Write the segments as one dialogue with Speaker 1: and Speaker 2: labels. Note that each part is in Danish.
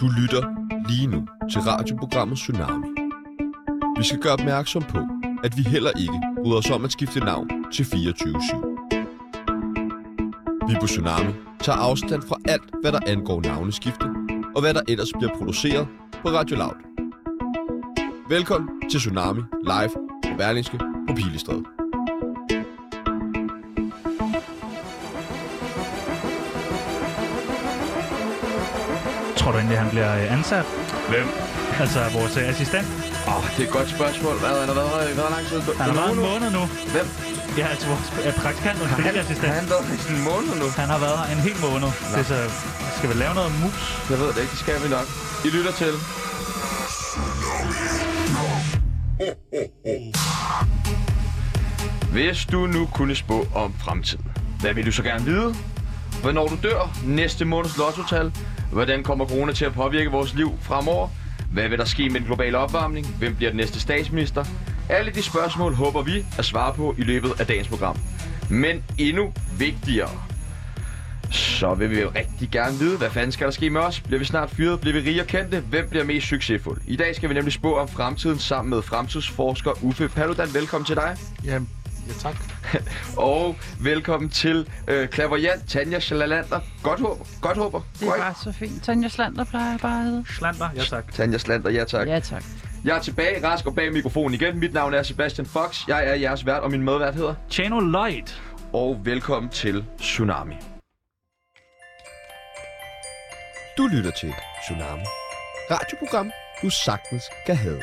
Speaker 1: Du lytter lige nu til radioprogrammet Tsunami. Vi skal gøre opmærksom på, at vi heller ikke bryder os om at skifte navn til 24-7. Vi på Tsunami tager afstand fra alt, hvad der angår navneskifte, og hvad der ellers bliver produceret på Radio Loud. Velkommen til Tsunami Live på Berlingske på Pilestræde.
Speaker 2: Tror du egentlig, han bliver øh, ansat?
Speaker 3: Hvem?
Speaker 2: Altså vores øh, assistent?
Speaker 3: Åh, oh, det er et godt spørgsmål. Hvad har der været i hvor lang tid?
Speaker 2: Han har været en måned nu.
Speaker 3: Hvem?
Speaker 2: Ja, altså vores øh, praktikant og
Speaker 3: Har
Speaker 2: assistent.
Speaker 3: han været i en måned nu?
Speaker 2: Han har været her en hel måned. Det er så, skal vi lave noget mus?
Speaker 3: Jeg ved det ikke. Det skal vi nok. I lytter til. Hvis du nu kunne spå om fremtiden, hvad vil du så gerne vide? Hvornår du dør? Næste måneds lottotal? Hvordan kommer corona til at påvirke vores liv fremover? Hvad vil der ske med den globale opvarmning? Hvem bliver den næste statsminister? Alle de spørgsmål håber vi at svare på i løbet af dagens program. Men endnu vigtigere, så vil vi jo rigtig gerne vide, hvad fanden skal der ske med os? Bliver vi snart fyret? Bliver vi rige og kendte? Hvem bliver mest succesfuld? I dag skal vi nemlig spå om fremtiden sammen med fremtidsforsker Uffe Paludan. Velkommen til dig.
Speaker 4: Ja, ja tak.
Speaker 3: Og velkommen til øh, klaverjant Tanja Schlalander. Godt håber. Godt håber.
Speaker 5: Det er bare så fint. Tanja Slander plejer bare at hedde.
Speaker 2: Slander, ja tak.
Speaker 3: Tanja Schlander, ja tak.
Speaker 5: Ja, tak.
Speaker 3: Jeg er tilbage, rask og bag mikrofonen igen. Mit navn er Sebastian Fox. Jeg er jeres vært, og min medvært hedder.
Speaker 2: Chano Lloyd.
Speaker 3: Og velkommen til Tsunami.
Speaker 1: Du lytter til Tsunami. Radioprogram, du sagtens kan have.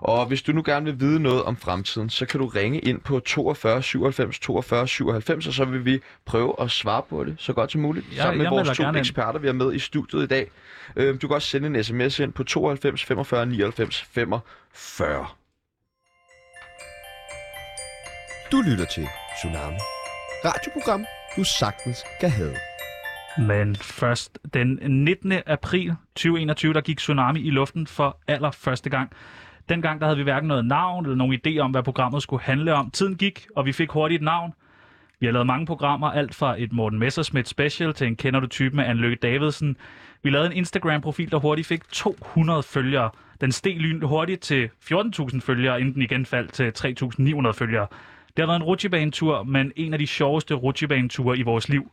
Speaker 3: Og hvis du nu gerne vil vide noget om fremtiden, så kan du ringe ind på 42 97 42 97, og så vil vi prøve at svare på det så godt som muligt,
Speaker 2: Ja,
Speaker 3: ja, sammen med
Speaker 2: jeg melder
Speaker 3: vores to
Speaker 2: gerne ind.
Speaker 3: eksperter, vi har med i studiet i dag. Øhm, Du kan også sende en sms ind på 92 45 99 45.
Speaker 1: Du lytter til Tsunami. Radioprogram, du sagtens kan have.
Speaker 2: Men først den 19. april 2021, der gik Tsunami i luften for allerførste gang. Dengang der havde vi hverken noget navn eller nogen idé om, hvad programmet skulle handle om. Tiden gik, og vi fik hurtigt et navn. Vi har lavet mange programmer, alt fra et Morten Messerschmidt special til en Kender du typen med Anne Løkke Davidsen. Vi lavede en Instagram-profil, der hurtigt fik 200 følgere. Den steg lyn hurtigt til 14.000 følgere, inden den igen faldt til 3.900 følgere. Det har været en rutsjebanetur, men en af de sjoveste rutsjebaneture i vores liv.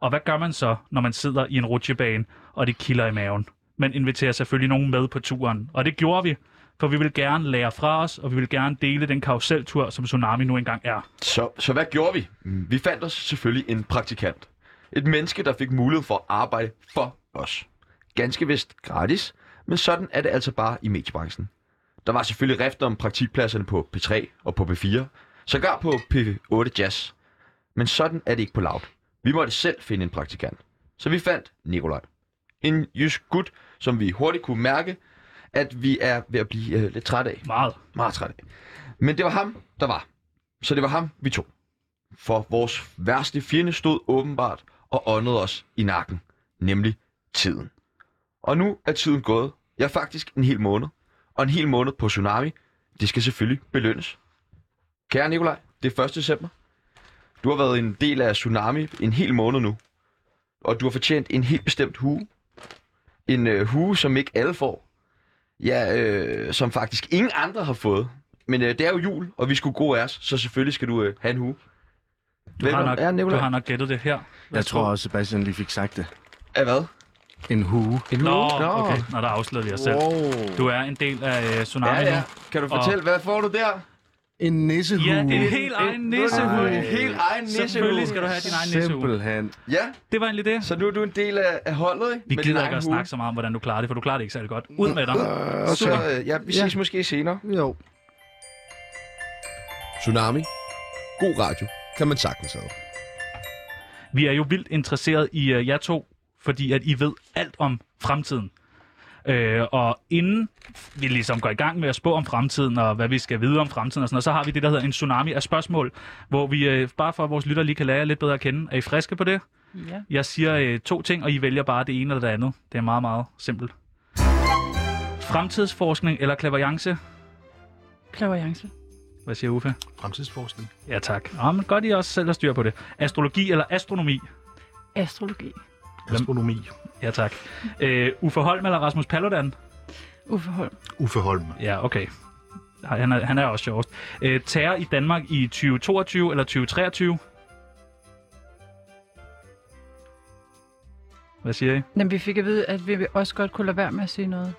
Speaker 2: Og hvad gør man så, når man sidder i en rutsjebane, og det kilder i maven? Man inviterer selvfølgelig nogen med på turen, og det gjorde vi, for vi vil gerne lære fra os, og vi vil gerne dele den karuseltur, som Tsunami nu engang er.
Speaker 3: Så, så hvad gjorde vi? Vi fandt os selvfølgelig en praktikant. Et menneske, der fik mulighed for at arbejde for os. Ganske vist gratis, men sådan er det altså bare i mediebranchen. Der var selvfølgelig rift om praktikpladserne på P3 og på P4, sågar på P8 Jazz. Men sådan er det ikke på Loud. Vi måtte selv finde en praktikant. Så vi fandt Nikolaj. En jysk gut, som vi hurtigt kunne mærke, at vi er ved at blive øh, lidt træt af
Speaker 2: Meget.
Speaker 3: meget træt af. Men det var ham, der var. Så det var ham, vi tog. For vores værste fjende stod åbenbart og åndede os i nakken. Nemlig tiden. Og nu er tiden gået. Jeg er faktisk en hel måned. Og en hel måned på Tsunami. Det skal selvfølgelig belønnes. Kære Nikolaj, det er 1. december. Du har været en del af Tsunami en hel måned nu. Og du har fortjent en helt bestemt hue. En øh, hue, som ikke alle får. Ja, øh, som faktisk ingen andre har fået. Men øh, det er jo jul, og vi skulle gode af os, så selvfølgelig skal du øh, have en hue.
Speaker 2: Du, har nok,
Speaker 3: ja,
Speaker 2: du
Speaker 3: Nikolaj.
Speaker 2: har nok gættet det her.
Speaker 6: Jeg tror også, Sebastian lige fik sagt det.
Speaker 3: Af hvad?
Speaker 6: En hue.
Speaker 3: En
Speaker 2: Nå, okay. Nå, der afslørede jeg selv. Du er en del af øh, Tsunami
Speaker 3: Ja, ja.
Speaker 2: nu.
Speaker 3: Kan du fortælle, hvad får du der?
Speaker 6: En nissehue.
Speaker 2: Ja, det er en helt egen nissehue.
Speaker 3: En helt egen nissehue.
Speaker 2: Selvfølgelig skal du have din egen nissehue.
Speaker 6: Simpelthen.
Speaker 3: Ja,
Speaker 2: Det var egentlig det.
Speaker 3: så nu er du en del af, af holdet, ikke?
Speaker 2: Vi
Speaker 3: Med din
Speaker 2: gider
Speaker 3: egen
Speaker 2: ikke at
Speaker 3: hue.
Speaker 2: snakke så meget om, hvordan du klarer det, for du klarer det ikke særlig godt. Ud med dig.
Speaker 3: Og så, øh, ja, vi ses måske senere.
Speaker 6: Jo.
Speaker 1: Tsunami. God radio kan man sagtens have.
Speaker 2: Vi er jo vildt interesseret i uh, jer to, fordi at I ved alt om fremtiden. Øh, og inden vi ligesom går i gang med at spå om fremtiden, og hvad vi skal vide om fremtiden og sådan noget, så har vi det, der hedder en tsunami af spørgsmål, hvor vi, øh, bare for at vores lytter lige kan lære jer lidt bedre at kende, er I friske på det?
Speaker 5: Ja.
Speaker 2: Jeg siger øh, to ting, og I vælger bare det ene eller det andet. Det er meget, meget simpelt. Fremtidsforskning eller klaverjance?
Speaker 5: Klaverjance.
Speaker 2: Hvad siger Uffe?
Speaker 4: Fremtidsforskning.
Speaker 2: Ja tak. Jamen, godt I også selv har styr på det. Astrologi eller astronomi?
Speaker 5: Astrologi.
Speaker 7: Astronomi.
Speaker 2: Ja, tak. Øh, Uffe Holm eller Rasmus Paludan?
Speaker 5: Uffe Holm.
Speaker 7: Uffe Holm.
Speaker 2: Ja, okay. Ej, Han er, han er også sjovest. Øh, terror i Danmark i 2022 eller 2023? Hvad siger I?
Speaker 5: Men vi fik at vide, at vi også godt kunne lade være med at sige noget.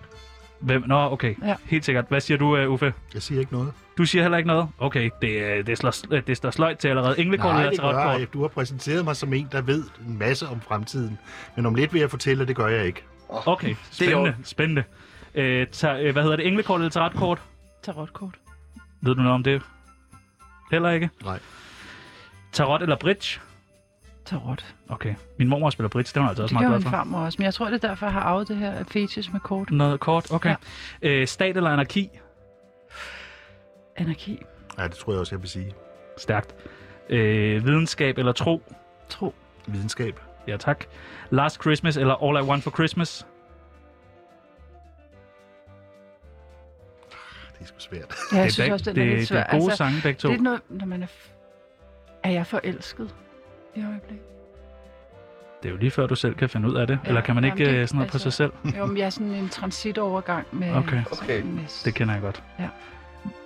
Speaker 2: Hvem? Nå, okay.
Speaker 5: Ja.
Speaker 2: Helt sikkert. Hvad siger du, øh, Uffe?
Speaker 7: Jeg siger ikke noget.
Speaker 2: Du siger heller ikke noget? Okay, det, øh, det, slår, øh, det står sløjt til allerede. Englekort
Speaker 7: Nej,
Speaker 2: eller
Speaker 7: det gør
Speaker 2: tarotkort?
Speaker 7: jeg. Du har præsenteret mig som en, der ved en masse om fremtiden. Men om lidt vil jeg fortælle, at det gør jeg ikke.
Speaker 2: Okay, spændende. spændende. Øh, ta, øh, hvad hedder det? Englekort eller tarotkort?
Speaker 5: Tarotkort.
Speaker 2: Ved du noget om det? Heller ikke?
Speaker 7: Nej.
Speaker 2: Tarot eller bridge?
Speaker 5: Tarot.
Speaker 2: Okay. Min mormor spiller bridge, det var hun altså
Speaker 5: Det
Speaker 2: også
Speaker 5: gjorde
Speaker 2: meget glad
Speaker 5: min
Speaker 2: for.
Speaker 5: farmor også, men jeg tror, det er derfor, jeg har arvet det her fetish med kort.
Speaker 2: Noget kort, okay. Ja. Øh, stat eller anarki?
Speaker 5: Anarki.
Speaker 7: Ja, det tror jeg også, jeg vil sige.
Speaker 2: Stærkt. Øh, videnskab eller tro?
Speaker 5: Tro.
Speaker 7: Videnskab.
Speaker 2: Ja, tak. Last Christmas eller All I Want for Christmas?
Speaker 7: Det er sgu svært.
Speaker 5: Ja, jeg
Speaker 2: det er,
Speaker 5: synes
Speaker 2: beg-
Speaker 5: også, den er
Speaker 2: det,
Speaker 5: lidt svær. Altså,
Speaker 2: det er gode sange begge to.
Speaker 5: det er noget, når man er... F- er jeg forelsket i øjeblikket?
Speaker 2: det er jo lige før, du selv kan finde ud af det. Ja,
Speaker 5: Ja,
Speaker 2: eller kan man
Speaker 5: jamen,
Speaker 2: ikke
Speaker 5: det-
Speaker 2: øh, sådan noget på
Speaker 5: altså-
Speaker 2: sig selv?
Speaker 5: Jo, men jeg er sådan en transitovergang med...
Speaker 2: Okay.
Speaker 5: Okay. Med
Speaker 2: Det kender jeg godt.
Speaker 5: Ja.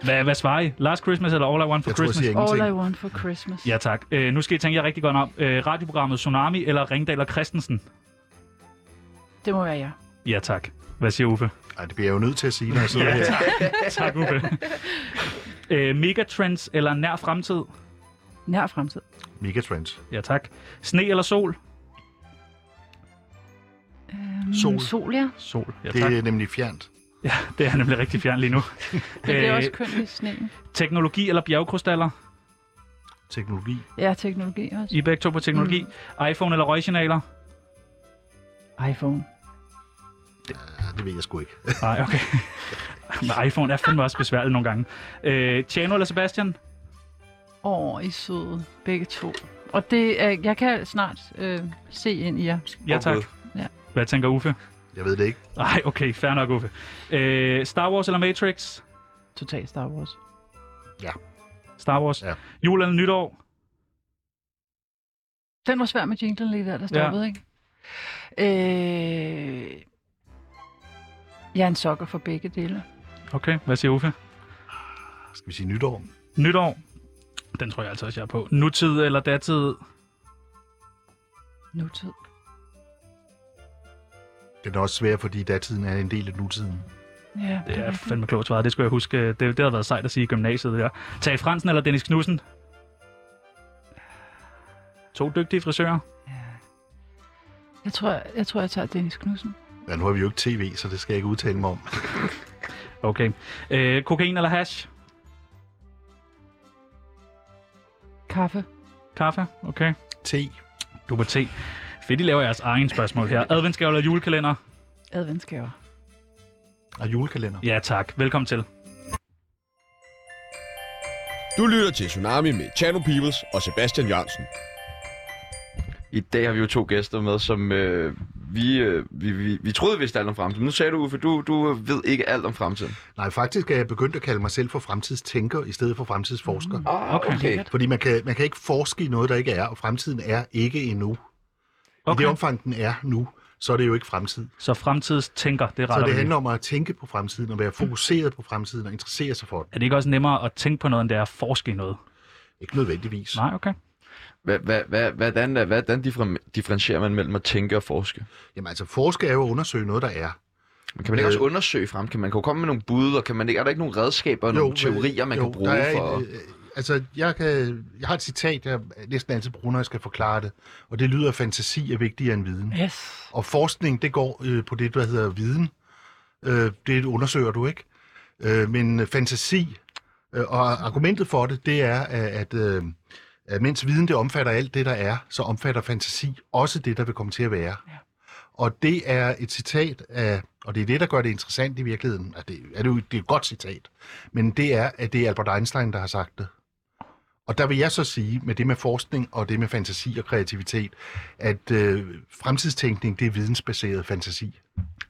Speaker 2: Hvad, hvad svarer I? Last Christmas eller All I Want for
Speaker 7: Jeg tror, jeg
Speaker 2: Christmas?
Speaker 7: siger ingenting.
Speaker 5: All I want for Christmas.
Speaker 2: ja, tak. Øh, nu skal I tænke jer rigtig godt om. Øh, radioprogrammet Tsunami eller Ringdal og Christensen?
Speaker 5: Det må være jeg.
Speaker 2: Ja, tak. Hvad siger Uffe?
Speaker 7: Ej, det bliver jeg jo nødt til at sige, når jeg sidder her.
Speaker 2: Tak, Uffe. øh, megatrends eller nær fremtid?
Speaker 5: Nær fremtid.
Speaker 7: Megatrends.
Speaker 2: Ja, tak. Sne eller sol?
Speaker 5: Øhm,
Speaker 7: Sol.
Speaker 5: Sol, ja.
Speaker 2: Sol, ja
Speaker 7: Det
Speaker 2: tak.
Speaker 7: er nemlig fjernt.
Speaker 2: Ja, det er nemlig rigtig fjern lige nu. Øh,
Speaker 5: Det bliver også kønt i sneen.
Speaker 2: teknologi eller bjergkrystaller?
Speaker 7: Teknologi.
Speaker 5: Ja, teknologi også.
Speaker 2: I er begge to på teknologi. Mm. iPhone eller røgsignaler?
Speaker 5: iPhone.
Speaker 7: Ja, det ved jeg sgu ikke.
Speaker 2: Nej, okay. Men iPhone er fandme også besværligt nogle gange. Øh, Tjano eller Sebastian?
Speaker 5: Åh, I er søde. Begge to. Og det, er, jeg kan snart øh, se ind i jer.
Speaker 2: Ja, tak.
Speaker 5: Ja.
Speaker 2: Hvad tænker Uffe?
Speaker 7: Jeg ved det ikke.
Speaker 2: Nej, okay, fair nok, Uffe. Øh, Star Wars eller Matrix?
Speaker 5: Total Star Wars.
Speaker 2: Star Wars.
Speaker 7: Ja.
Speaker 2: Jul eller nytår?
Speaker 5: Den var svær med jinglen lige der, der stoppede, ja. ikke? Øh, jeg er en sokker for begge dele.
Speaker 2: Okay, hvad siger Uffe?
Speaker 7: Skal vi sige nytår?
Speaker 2: Nytår. Den tror jeg altså også, jeg er på. Nutid eller datid?
Speaker 5: Nutid.
Speaker 7: Det er også svært, fordi datiden er en del af nutiden.
Speaker 5: Ja,
Speaker 2: Det er
Speaker 5: rigtigt.
Speaker 2: fandme klogt svaret. Det skulle jeg huske. Det, det havde været sejt at sige i gymnasiet. Det der. Tage Fransen eller Dennis Knudsen? To dygtige frisører.
Speaker 5: jeg, tror, jeg, jeg tror, jeg tager Dennis Knudsen.
Speaker 7: Ja, nu har vi jo ikke tv, så det skal jeg ikke udtale mig om.
Speaker 2: Okay. Øh, kokain eller hash?
Speaker 5: Kaffe.
Speaker 2: Kaffe? Okay.
Speaker 7: Te.
Speaker 2: Du er på te. Fedt, I laver jeres egen spørgsmål her. Adventsgave eller julekalender?
Speaker 5: Adventsgaver.
Speaker 7: Og julekalender.
Speaker 2: Ja tak. Velkommen til.
Speaker 1: Du lytter til Tsunami med Chano Peoples og Sebastian Jørgensen.
Speaker 3: I dag har vi jo to gæster med, som øh, vi, øh, vi, vi, vi troede, vi vidste alt om fremtiden. Nu sagde du, Uffe, du, du ved ikke alt om fremtiden.
Speaker 7: Nej, faktisk er jeg begyndt at kalde mig selv for fremtidstænker i stedet for fremtidsforsker. Mm.
Speaker 3: Ah,
Speaker 2: Okay.
Speaker 7: Fordi man kan, man kan ikke forske i noget, der ikke er, og fremtiden er ikke endnu. Okay. I det
Speaker 2: Okay.
Speaker 7: omfang, den er nu, så er det jo ikke fremtid.
Speaker 2: Så fremtidstænker, det
Speaker 7: Så
Speaker 2: retter
Speaker 7: det
Speaker 2: vi.
Speaker 7: handler om at tænke på fremtiden, og være fokuseret på fremtiden, og interessere sig for den.
Speaker 2: Er det ikke også nemmere at tænke på noget, end det er at forske i noget?
Speaker 7: Ikke nødvendigvis.
Speaker 2: Nej, okay.
Speaker 3: Hva, hva, hva, hvordan, øh, hvordan differen- differentierer man mellem at tænke og forske?
Speaker 7: Jamen altså, forske er jo at undersøge noget, der er.
Speaker 3: Men kan man ikke
Speaker 7: Øh.
Speaker 3: også undersøge frem? Kan man kan jo komme med nogle bud, og kan man ikke, er der ikke nogle redskaber og nogle
Speaker 7: men-
Speaker 3: teorier, man
Speaker 7: jo,
Speaker 3: kan bruge
Speaker 7: der er
Speaker 3: for...
Speaker 7: Et, øh, altså, jeg, kan, jeg har et citat, jeg næsten altid bruger, når jeg skal forklare det, og det lyder, at fantasi er vigtigere end viden.
Speaker 5: Yes.
Speaker 7: Og forskning, det går øh, på det, der hedder viden. Øh, det undersøger du ikke. Øh, men øh, fantasi øh, og argumentet for det, det er, at, at, øh, at mens viden det omfatter alt det, der er, så omfatter fantasi også det, der vil komme til at være. Ja. Og det er et citat af, og det er det, der gør det interessant i virkeligheden. At det, er det, jo, det er et godt citat, men det er, at det er Albert Einstein, der har sagt det. Og der vil jeg så sige, med det med forskning og det med fantasi og kreativitet, at øh, fremtidstænkning, det er vidensbaseret fantasi.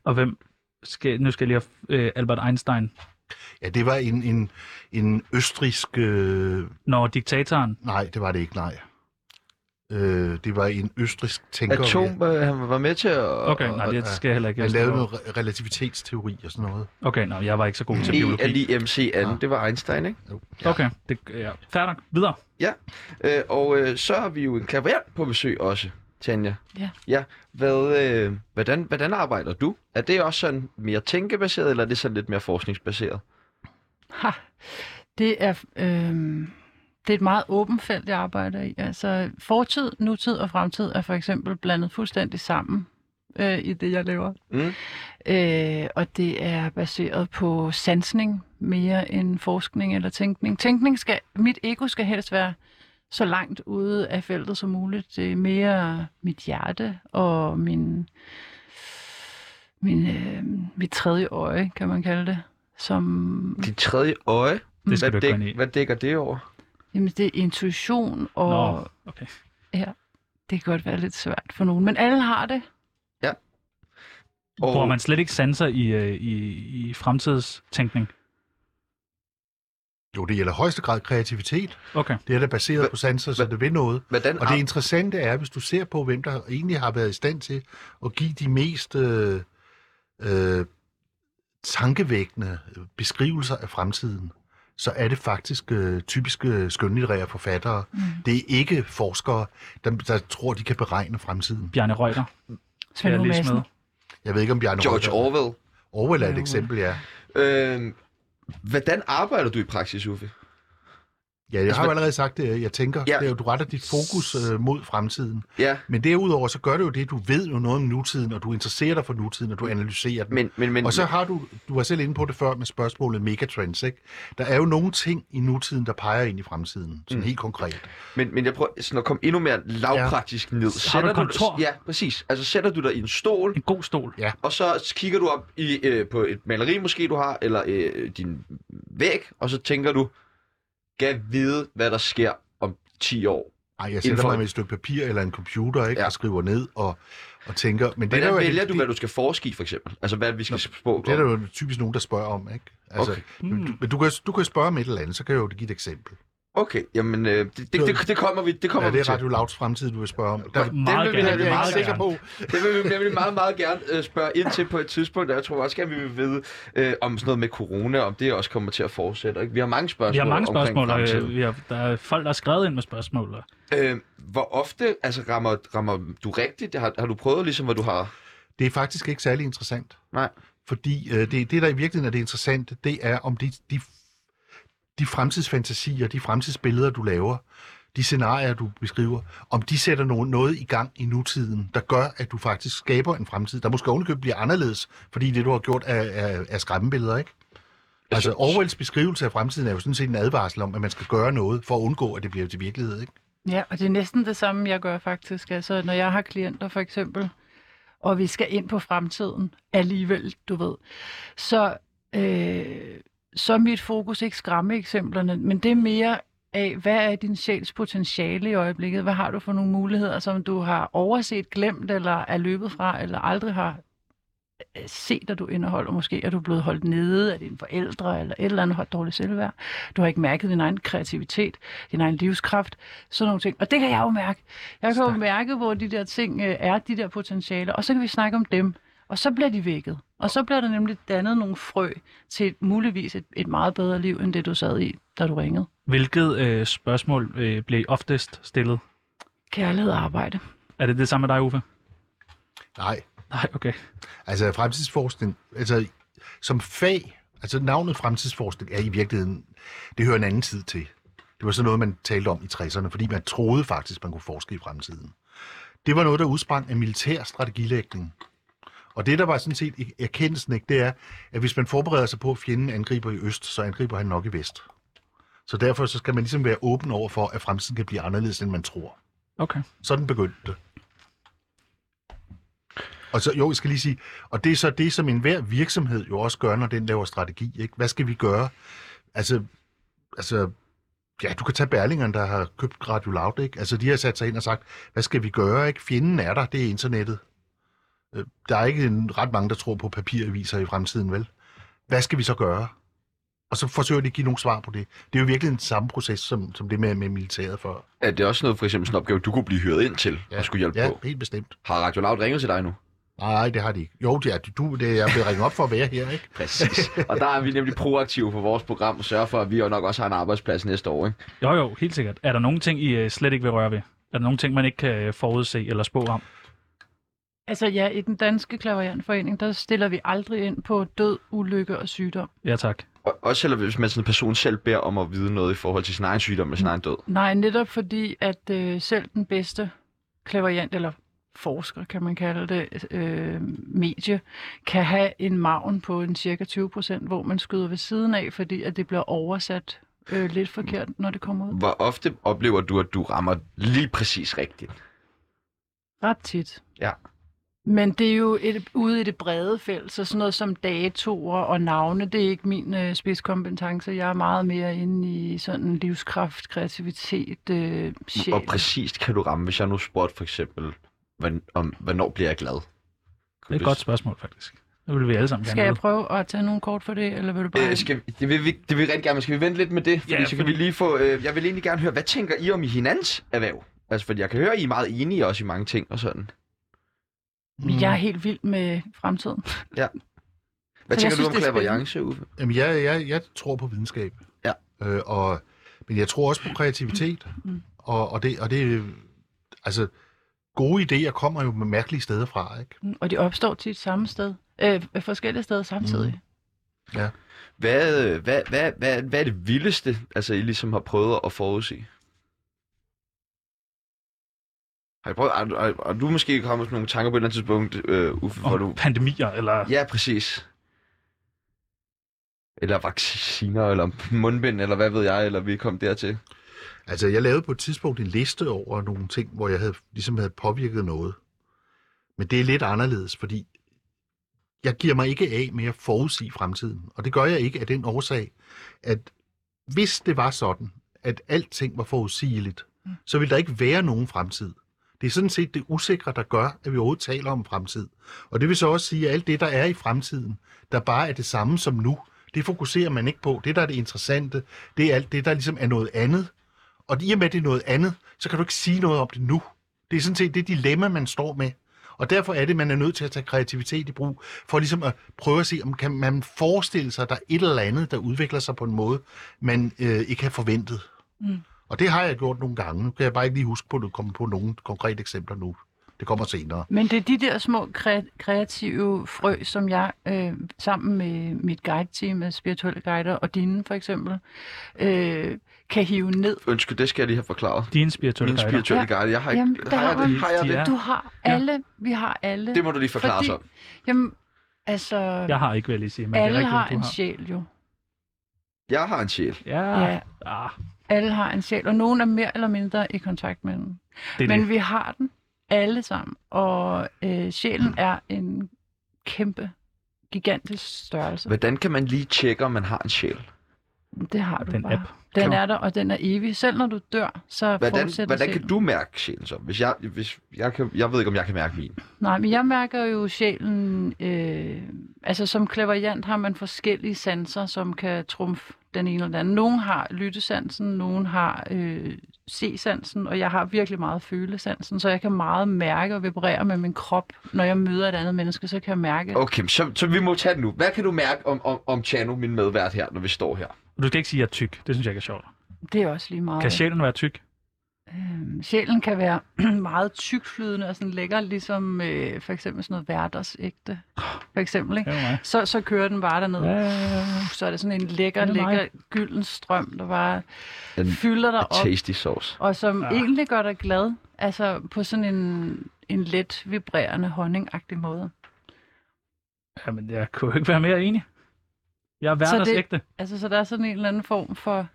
Speaker 2: Og hvem skal, nu skal jeg lige have øh, Albert Einstein.
Speaker 7: Ja, det var en, en, en østrisk... Øh,
Speaker 2: Når diktatoren
Speaker 7: nej, det var det ikke, nej. Øh, det var en østrisk tænker.
Speaker 3: Atom, øh, han var med til at...
Speaker 2: Okay, nej, det skal jeg heller ikke.
Speaker 7: Han lavede noget re- relativitetsteori og sådan noget.
Speaker 2: Okay, nej, jeg var ikke så god til
Speaker 3: E er
Speaker 2: biologi.
Speaker 3: lige MC anden.
Speaker 7: Ja.
Speaker 3: Det var Einstein, ikke?
Speaker 2: Okay, det, ja. færdig. Videre.
Speaker 3: Øh, og øh, så har vi jo en klaverant på besøg også, Tanja.
Speaker 5: Ja.
Speaker 3: Ja. Hvad, øh, hvordan, hvordan arbejder du? Er det også sådan mere tænkebaseret, eller er det sådan lidt mere forskningsbaseret?
Speaker 5: Ha. Det er, øhm, det er et meget åbent felt, jeg arbejder i. Altså, fortid, nutid og fremtid er for eksempel blandet fuldstændig sammen øh, i det, jeg laver.
Speaker 3: Mm.
Speaker 5: Øh, og det er baseret på sansning mere end forskning eller tænkning. Tænkning skal, mit ego skal helst være så langt ude af feltet som muligt. Det er mere mit hjerte og min, min, øh, mit tredje øje, kan man kalde det, som
Speaker 3: Dit tredje øje.
Speaker 2: Det skal du
Speaker 3: hvad,
Speaker 2: ikke gå ind i.
Speaker 3: hvad dækker det over?
Speaker 5: Jamen, det er intuition, og
Speaker 2: Nå, okay.
Speaker 5: det kan godt være lidt svært for nogen. Men alle har det.
Speaker 3: Og,
Speaker 2: Bruger man slet ikke sanser i, øh, i, i fremtidstænkning?
Speaker 7: Jo, det gælder i højeste grad kreativitet.
Speaker 2: Okay.
Speaker 7: Det er da baseret
Speaker 3: Hva-
Speaker 7: på sanser, så
Speaker 3: hva-
Speaker 7: det vil noget.
Speaker 3: Hvordan,
Speaker 7: Og det interessante er, hvis du ser på, hvem der egentlig har været i stand til at give de mest øh, øh, tankevækkende beskrivelser af fremtiden, så er det faktisk øh, typisk øh, skønlitterære forfattere. Mm. Det er ikke forskere, der, der tror, de kan beregne fremtiden.
Speaker 2: Bjarne Reuter. Skal jeg
Speaker 5: Svend
Speaker 2: lige
Speaker 5: Åge
Speaker 2: smide?
Speaker 7: Jeg ved ikke, om Bjarne
Speaker 3: George
Speaker 7: Reuter-
Speaker 3: Orwell.
Speaker 7: Orwell er et
Speaker 5: Ja,
Speaker 7: eksempel, ja.
Speaker 3: Øh, hvordan arbejder du i praksis, Uffe?
Speaker 7: Ja, jeg
Speaker 3: Altså,
Speaker 7: har jo
Speaker 3: hvad-
Speaker 7: allerede sagt det, jeg tænker.
Speaker 3: Ja.
Speaker 7: Ja. Det er jo, du retter dit fokus øh, mod fremtiden.
Speaker 3: Ja,
Speaker 7: Men derudover, så gør det jo det, du ved jo noget om nutiden, og du interesserer dig for nutiden, og du analyserer den.
Speaker 3: men... men, men
Speaker 7: Og så har du, du var selv inde på det før med spørgsmålet megatrends, ikke? Der er jo nogle ting i nutiden, der peger ind i fremtiden, sådan
Speaker 3: Mm.
Speaker 7: mm. helt konkret.
Speaker 3: Men, men jeg prøver sådan at komme endnu mere lavpraktisk ja. ned.
Speaker 2: Har du et kontor?
Speaker 3: dig, ja, præcis. Altså sætter du dig i en stol,
Speaker 2: En god stol.
Speaker 3: og så kigger du op i, øh, på et maleri måske du har, eller øh, din væg, og så tænker du, kan vide, hvad der sker om 10 år.
Speaker 7: Ej, jeg sætter
Speaker 3: Inden for-
Speaker 7: mig med et stykke papir eller en computer, ikke?
Speaker 3: Ja.
Speaker 7: Ja. Og skriver ned og, og tænker... Men det,
Speaker 3: Hvordan
Speaker 7: er der jo,
Speaker 3: vælger
Speaker 7: det,
Speaker 3: du, hvad du skal forske i, for eksempel? Altså, hvad vi skal spå
Speaker 7: det er der
Speaker 3: om?
Speaker 7: jo typisk nogen, der spørger om, ikke? Altså,
Speaker 3: Okay.
Speaker 7: okay. du, men du kan, du kan spørge om et eller andet, så kan jeg jo give et eksempel.
Speaker 3: Okay, jamen, øh, det, det, det, det, kommer vi, det kommer
Speaker 7: Ja, det
Speaker 3: vi
Speaker 7: er
Speaker 3: til.
Speaker 7: Radio Lavs fremtid, du vil spørge om. Der,
Speaker 2: Meget
Speaker 3: Den vil
Speaker 2: gerne.
Speaker 3: vi have, det er
Speaker 2: meget
Speaker 7: jeg ikke sikker
Speaker 2: gerne.
Speaker 7: på.
Speaker 3: Det vil vi nemlig meget, meget gerne øh, spørge ind til på et tidspunkt, og jeg tror også gerne, vi vil vide øh, om sådan noget med corona, om det også kommer til at fortsætte. Ikke? Vi har mange spørgsmål
Speaker 2: Vi har mange spørgsmål, og
Speaker 3: omkring
Speaker 2: øh,
Speaker 3: fremtiden.
Speaker 2: vi har, der er folk, der har skrevet ind med spørgsmål. og-
Speaker 3: Øh, hvor ofte altså, rammer, rammer du rigtigt? Har, har du prøvet ligesom, hvor du har...
Speaker 7: Det er faktisk ikke særlig interessant.
Speaker 3: Nej.
Speaker 7: Fordi øh, det, det, der i virkeligheden er det interessante, det er, om de, de, de fremtidsfantasier, de fremtidsbilleder, du laver, de scenarier, du beskriver, om de sætter no- noget i gang i nutiden, der gør, at du faktisk skaber en fremtid, der måske ovenikøbet bliver anderledes, fordi det, du har gjort, er, er, er skræmmebilleder, ikke? Altså,
Speaker 3: synes-
Speaker 7: Orwells beskrivelse af fremtiden er jo sådan set en advarsel om, at man skal gøre noget for at undgå, at det bliver til virkelighed, ikke?
Speaker 5: Ja, og det er næsten det samme, jeg gør faktisk. Altså, når jeg har klienter for eksempel, og vi skal ind på fremtiden alligevel, du ved, så, øh, så er mit fokus ikke skræmme eksemplerne, men det er mere af, hvad er din sjæls potentiale i øjeblikket? Hvad har du for nogle muligheder, som du har overset, glemt, eller er løbet fra, eller aldrig har øh, set, at du indeholder? Måske er du blevet holdt nede af dine forældre, eller et eller andet holdt dårligt selvværd. Du har ikke mærket din egen kreativitet, din egen livskraft, sådan nogle ting. Og det kan jeg jo mærke. Jeg kan jo mærke, hvor de der ting øh, er, de der potentialer, og så kan vi snakke om dem. Og så bliver de vækket. Og så bliver der nemlig dannet nogle frø til et, muligvis et, et meget bedre liv, end det du sad i, da du ringede.
Speaker 2: Hvilket øh, spørgsmål øh, blev I oftest stillet?
Speaker 5: Kærlighed og arbejde.
Speaker 2: Er det det samme med dig, Uffe?
Speaker 7: Nej,
Speaker 2: Nej, okay.
Speaker 7: Altså fremtidsforskning, altså som fag, altså navnet fremtidsforskning er i virkeligheden, det hører en anden tid til. Det var sådan noget, man talte om i 60'erne, fordi man troede faktisk, man kunne forske i fremtiden. Det var noget, der udsprang af militær strategilægning. Og det, der var sådan set i- erkendelsen, ikke, det er, at hvis man forbereder sig på, at fjenden angriber i øst, så angriber han nok i vest. Så derfor så skal man ligesom være åben over for, at fremtiden kan blive anderledes, end man tror.
Speaker 2: Okay.
Speaker 7: Sådan begyndte det. Og så, jo, jeg skal lige sige, og det er så det, som enhver virksomhed jo også gør, når den laver strategi. Ikke? Hvad skal vi gøre? Altså, altså, ja, du kan tage Berlingeren, der har købt Radio Loud, ikke? Altså, de har sat sig ind og sagt, hvad skal vi gøre, ikke? Fjenden er der, det er internettet. Øh, Der er ikke en- ret mange, der tror på papiraviser i fremtiden, vel? Hvad skal vi så gøre? Og og så forsøger de at give nogle svar på det. Det er jo virkelig den samme proces, som, som det med, med militæret for.
Speaker 3: Er det også noget, for eksempel sådan en opgave, du kunne blive hyret ind til ja. og skulle hjælpe
Speaker 7: ja,
Speaker 3: ja. på?
Speaker 7: helt bestemt.
Speaker 3: Har Radio Loud ringet til dig nu?
Speaker 7: Nej, det har de ikke. Jo, det er, du, det er jeg blevet ringet op for at være her, ikke?
Speaker 3: Præcis. og der er vi nemlig proaktive på vores program og sørger for, at vi jo nok også har en arbejdsplads næste år. Ikke?
Speaker 2: Jo, jo, helt sikkert. Er der nogen ting, I øh, slet ikke vil røre ved? Er der nogen ting, man ikke kan øh, forudse eller spå om?
Speaker 5: Altså ja, i den danske klaverjernforening, der stiller vi aldrig ind på død, ulykke og sygdom.
Speaker 2: Ja, tak.
Speaker 3: Og, også selvom hvis man sådan en person selv beder om at vide noget i forhold til sin egen sygdom eller sin egen død.
Speaker 5: Nej, netop fordi, at øh, selv den bedste klaverjant, eller forsker kan man kalde det, øh, medie, kan have en maven på en cirka 20 procent, hvor man skyder ved siden af, fordi at det bliver oversat øh, lidt forkert, når det kommer ud.
Speaker 3: Hvor ofte oplever du, at du rammer lige præcis rigtigt?
Speaker 5: Ret tit.
Speaker 3: Ja.
Speaker 5: Men det er jo et, ude i det brede felt, så sådan noget som datoer og navne, det er ikke min øh, spidskompetence. Jeg er meget mere inde i sådan livskraft, kreativitet, øh, sjæl.
Speaker 3: Hvor præcist kan du ramme, hvis jeg nu spurgte for eksempel, hvordan, om, hvornår bliver jeg glad?
Speaker 2: Det er et godt spørgsmål, faktisk. Det vil vi alle sammen gerne
Speaker 5: Skal jeg
Speaker 2: vide.
Speaker 5: prøve at tage nogle kort for det, eller vil du bare...
Speaker 3: Øh, skal vi, det, vil vi, det vil vi rigtig gerne, men skal vi vente lidt med det? Fordi
Speaker 2: Ja,
Speaker 3: ja, så kan
Speaker 2: fordi-
Speaker 3: vi lige få... Øh, jeg vil egentlig gerne høre, hvad tænker I om i hinandens erhverv? Altså, fordi jeg kan høre, at I er meget enige også i mange ting og sådan.
Speaker 5: Men Mm. Jeg er helt vild med fremtiden.
Speaker 3: Hvad
Speaker 5: Så jeg
Speaker 3: tænker
Speaker 5: synes,
Speaker 3: du om
Speaker 5: det er
Speaker 3: klaverjance, Uffe?
Speaker 7: Mm. Jamen, jeg, jeg, jeg tror på videnskab.
Speaker 3: Ja.
Speaker 7: Øh, og, men jeg tror også på kreativitet.
Speaker 5: Mm.
Speaker 7: Og, og, det, og det... Altså, gode idéer kommer jo med mærkelige steder fra, ikke?
Speaker 5: Og de opstår tit samme sted. Øh, forskellige steder samtidig. Mm.
Speaker 3: Hvad, øh, hvad, hvad, hvad, hvad er det vildeste, altså, I ligesom har prøvet at forudse? Har I prøvet, har, du- har, har du måske kommet med nogle tanker på et eller andet tidspunkt, øh, Uffe, hvor du...
Speaker 2: Om pandemier, eller...
Speaker 3: Ja, præcis. Eller vacciner, eller mundbind, eller hvad ved jeg, eller vi kom dertil.
Speaker 7: Altså, jeg lavede på et tidspunkt en liste over nogle ting, hvor jeg havde, ligesom havde påvirket noget. Men det er lidt anderledes, fordi jeg giver mig ikke af med at forudsige fremtiden. Og det gør jeg ikke af den årsag, at hvis det var sådan, at alting var forudsigeligt, så ville der ikke være nogen fremtid. Det er sådan set det usikre, der gør, at vi overhovedet taler om fremtid. Og det vil så også sige, at alt det, der er i fremtiden, der bare er det samme som nu, det fokuserer man ikke på. Det, der er det interessante, det er alt det, der ligesom er noget andet, og i og med, at det er noget andet, så kan du ikke sige noget om det nu. Det er sådan set det dilemma, man står med. Og derfor er det, man er nødt til at tage kreativitet i brug, for ligesom at prøve at se, om kan man forestille sig, at der er et eller andet, der udvikler sig på en måde, man øh, ikke har forventet.
Speaker 5: Mm.
Speaker 7: Og det har jeg gjort nogle gange. Nu kan jeg bare ikke lige huske på, at du kommer på nogle konkrete eksempler nu. Det kommer senere.
Speaker 5: Men det er de der små kre- kreative frø, som jeg øh, sammen med mit guide-team af spirituelle guider og dine for eksempel, øh, kan hive ned.
Speaker 3: Undskyld, det skal jeg lige have forklaret.
Speaker 2: Dine spirituelle
Speaker 3: Min
Speaker 2: guider.
Speaker 3: spirituelle guide. Jeg har ikke...
Speaker 5: Jamen, der
Speaker 3: har jeg
Speaker 5: har
Speaker 3: det?
Speaker 5: man-
Speaker 3: Har jeg
Speaker 2: Ja.
Speaker 3: det?
Speaker 5: Du har
Speaker 2: Ja.
Speaker 5: alle, vi har alle.
Speaker 3: Det må du lige forklare
Speaker 5: Fordi-
Speaker 3: sig om.
Speaker 5: Jamen, altså, ja,
Speaker 2: Jeg har ikke, vil jeg lige sige, men det er
Speaker 5: alle
Speaker 2: rigtigt,
Speaker 5: har
Speaker 2: du
Speaker 5: en
Speaker 2: har.
Speaker 5: sjæl jo.
Speaker 3: Jeg har en sjæl.
Speaker 2: Ja, ja.
Speaker 5: Ja.
Speaker 2: Ah,
Speaker 5: Alle har en sjæl, og nogen er mere eller mindre i kontakt med den.
Speaker 2: det er
Speaker 5: Men
Speaker 2: det.
Speaker 5: vi har den alle sammen, og øh, sjælen er en kæmpe, gigantisk størrelse.
Speaker 3: Hvordan kan man lige tjekke, om man har en sjæl?
Speaker 5: Det har du
Speaker 2: Den
Speaker 5: bare.
Speaker 2: app.
Speaker 5: Den er der, og den er evig. Selv når du dør, så
Speaker 3: Hvordan,
Speaker 5: fortsætter
Speaker 3: hvordan kan
Speaker 5: sjælen.
Speaker 3: du mærke sjælen så? Hvis jeg, hvis jeg, kan, jeg ved ikke, om jeg kan mærke min.
Speaker 5: Nej, men jeg mærker jo sjælen... Øh, altså, som klaverjant har man forskellige sanser, som kan trumfe den ene eller den anden. Nogen har lyttesansen, nogen har øh, se-sansen, og jeg har virkelig meget følesansen, så jeg kan meget mærke og vibrere med min krop. Når jeg møder et andet menneske, så kan jeg mærke...
Speaker 3: Okay, så, så vi må tage den nu. Hvad kan du mærke om, om, om Chano, min medvært her, når vi står her?
Speaker 2: Du skal ikke sige, at jeg er tyk. Det synes jeg ikke er sjovt.
Speaker 5: Det er også lige meget.
Speaker 2: Kan sjælen være tyk?
Speaker 5: Øhm, Sjælen kan være meget tykflydende og sådan lækker, ligesom øh, for eksempel sådan noget hverdagsægte, for eksempel,
Speaker 2: Ja,
Speaker 5: ikke?
Speaker 2: det er mig.
Speaker 5: Så, så kører den bare derned. Uh,
Speaker 2: Ja, ja, ja, ja.
Speaker 5: Så er det sådan en lækker,
Speaker 2: Det er mig.
Speaker 5: lækker gylden strøm, der bare
Speaker 3: Den
Speaker 5: fylder dig op,
Speaker 3: Tasty sauce.
Speaker 5: og som
Speaker 2: Ah.
Speaker 5: egentlig gør dig glad, altså på sådan en, en let vibrerende honningagtig måde.
Speaker 2: Jamen, jeg kunne jo ikke være mere enig. Jeg er
Speaker 5: Så det-
Speaker 2: hverdagsægte.
Speaker 5: Altså, så der er sådan en eller anden form for,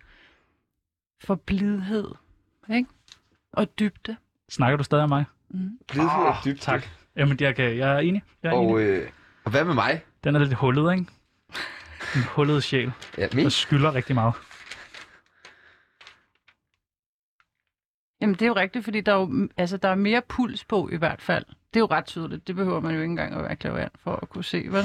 Speaker 5: for blidhed, ikke? Og dybde.
Speaker 2: Snakker du stadig om mig?
Speaker 5: Mm.
Speaker 3: Blidhed og dybt.
Speaker 2: tak. Jamen, jeg, kan, jeg er enig. Jeg er enig.
Speaker 3: Og, øh, og hvad med mig?
Speaker 2: Den er lidt hullet, ikke? En hullet sjæl,
Speaker 3: Ja,
Speaker 2: der
Speaker 3: min?
Speaker 2: skylder rigtig meget.
Speaker 5: Jamen, det er jo rigtigt, fordi der er, jo, altså, der er mere puls på i hvert fald. Det er jo ret tydeligt. Det behøver man jo ikke engang at være klaverant for at kunne se, vel?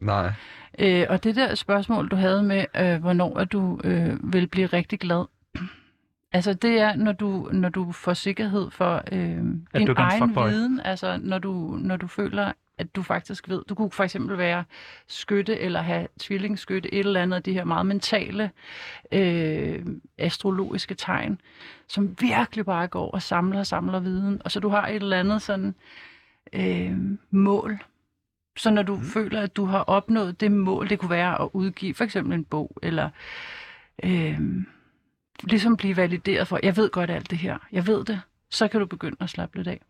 Speaker 3: Nej.
Speaker 5: Øh, og det der spørgsmål, du havde med, øh, hvornår at du øh, vil blive rigtig glad, altså det er, når du, når du får sikkerhed for øh, din
Speaker 2: du ikke er en
Speaker 5: egen
Speaker 2: fuckboy.
Speaker 5: viden, altså når du, når du føler, at du faktisk ved. Du kunne for eksempel være skytte eller have tvillingsskytte, et eller andet af de her meget mentale øh, astrologiske tegn, som virkelig bare går og samler og samler viden, og så du har et eller andet sådan øh, mål. Så når du mm. føler, at du har opnået det mål, det kunne være at udgive for eksempel en bog, eller øh, ligesom blive valideret for, jeg ved godt alt det her, jeg ved det, så kan du begynde at slappe lidt af.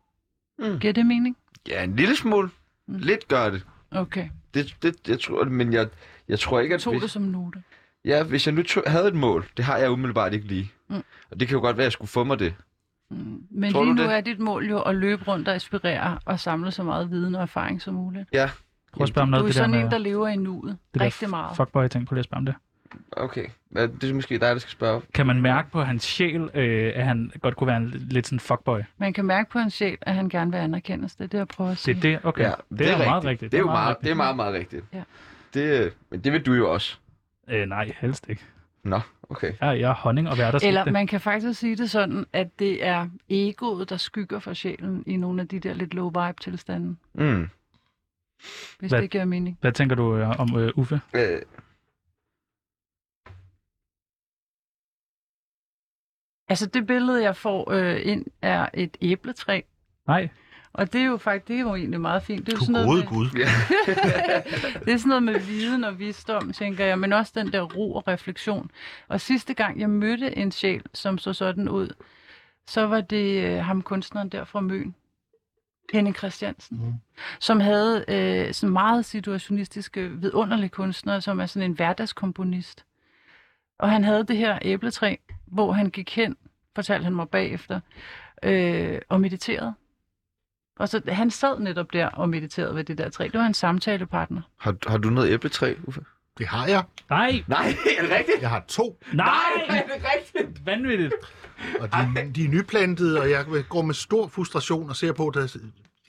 Speaker 3: Mm.
Speaker 5: Mm. Giver det mening?
Speaker 3: Ja, en lille smule.
Speaker 5: Mm.
Speaker 3: Lidt gør det.
Speaker 5: Okay.
Speaker 3: Det, det, jeg tror, men jeg, jeg tror ikke,
Speaker 5: Jeg
Speaker 3: at
Speaker 5: tog det
Speaker 3: hvis,
Speaker 5: som note.
Speaker 3: ja, hvis jeg nu tog, havde et mål, det har jeg umiddelbart ikke lige.
Speaker 5: Mm.
Speaker 3: Og det kan jo godt være, at jeg skulle få mig det.
Speaker 5: Mm. Men
Speaker 3: Tror
Speaker 5: lige
Speaker 3: du
Speaker 5: nu
Speaker 3: det?
Speaker 5: er dit mål jo at løbe rundt og inspirere og samle så meget viden og erfaring som muligt.
Speaker 2: Prøv at spørge om
Speaker 5: Du
Speaker 2: noget,
Speaker 5: er
Speaker 2: det der
Speaker 5: sådan en,
Speaker 2: med...
Speaker 5: der lever i nudet
Speaker 2: Det
Speaker 5: rigtig meget.
Speaker 2: Fuckboy, tænk på lige at spørge om det.
Speaker 3: Okay, ja, det er måske dig, der skal spørge.
Speaker 2: Kan man mærke på hans sjæl, øh, at han godt kunne være en, lidt sådan fuckboy?
Speaker 5: Man kan mærke på en sjæl, at han gerne vil anerkendes. Det er det, jeg prøver at sige.
Speaker 2: Det er det, okay.
Speaker 3: Ja,
Speaker 2: det, er, meget rigtigt.
Speaker 3: Det er jo meget, det er meget, meget rigtigt.
Speaker 5: Ja.
Speaker 3: Det, øh, men det vil du jo også.
Speaker 2: Øh, nej, helst ikke.
Speaker 3: Nå, okay.
Speaker 2: Jeg, jeg er honning og hverdags.
Speaker 5: Eller man kan faktisk sige det sådan, at det er egoet, der skygger for sjælen i nogle af de der lidt low vibe tilstande,
Speaker 3: Mm.
Speaker 5: hvis
Speaker 2: Hvad-
Speaker 5: Hvad? det giver mening.
Speaker 2: Hvad tænker du øh, om øh, Uffe?
Speaker 3: Øh,
Speaker 5: Altså det billede, jeg får øh, ind, er et æbletræ.
Speaker 2: Nej,
Speaker 5: Og det er jo faktisk det er jo egentlig meget fint. Det er, jo
Speaker 7: Du
Speaker 5: sådan noget
Speaker 7: gode
Speaker 5: med,
Speaker 7: Gud.
Speaker 5: det er sådan noget med viden og visdom, tænker jeg, men også den der ro og refleksion. Og sidste gang, jeg mødte en sjæl, som så sådan ud, så var det øh, ham kunstneren der fra Møn, Henning Christiansen,
Speaker 7: Mhm.
Speaker 5: mm. som havde øh, sådan meget situationistiske, vidunderlige kunstnere, som er sådan en hverdagskomponist. Og han havde det her æbletræ, hvor han gik hen, fortalte han mig bagefter, øh, og mediterede. Og så han sad netop der og mediterede ved det der træ. Det var en samtalepartner.
Speaker 3: har, har du noget æbletræ, Uffe?
Speaker 7: Det har jeg.
Speaker 2: nej,
Speaker 3: Nej, er det rigtigt?
Speaker 7: Jeg har to,
Speaker 2: nej,
Speaker 3: er det rigtigt?
Speaker 2: vanvittigt.
Speaker 7: og de, de er nyplantede, og jeg går med stor frustration og ser på, at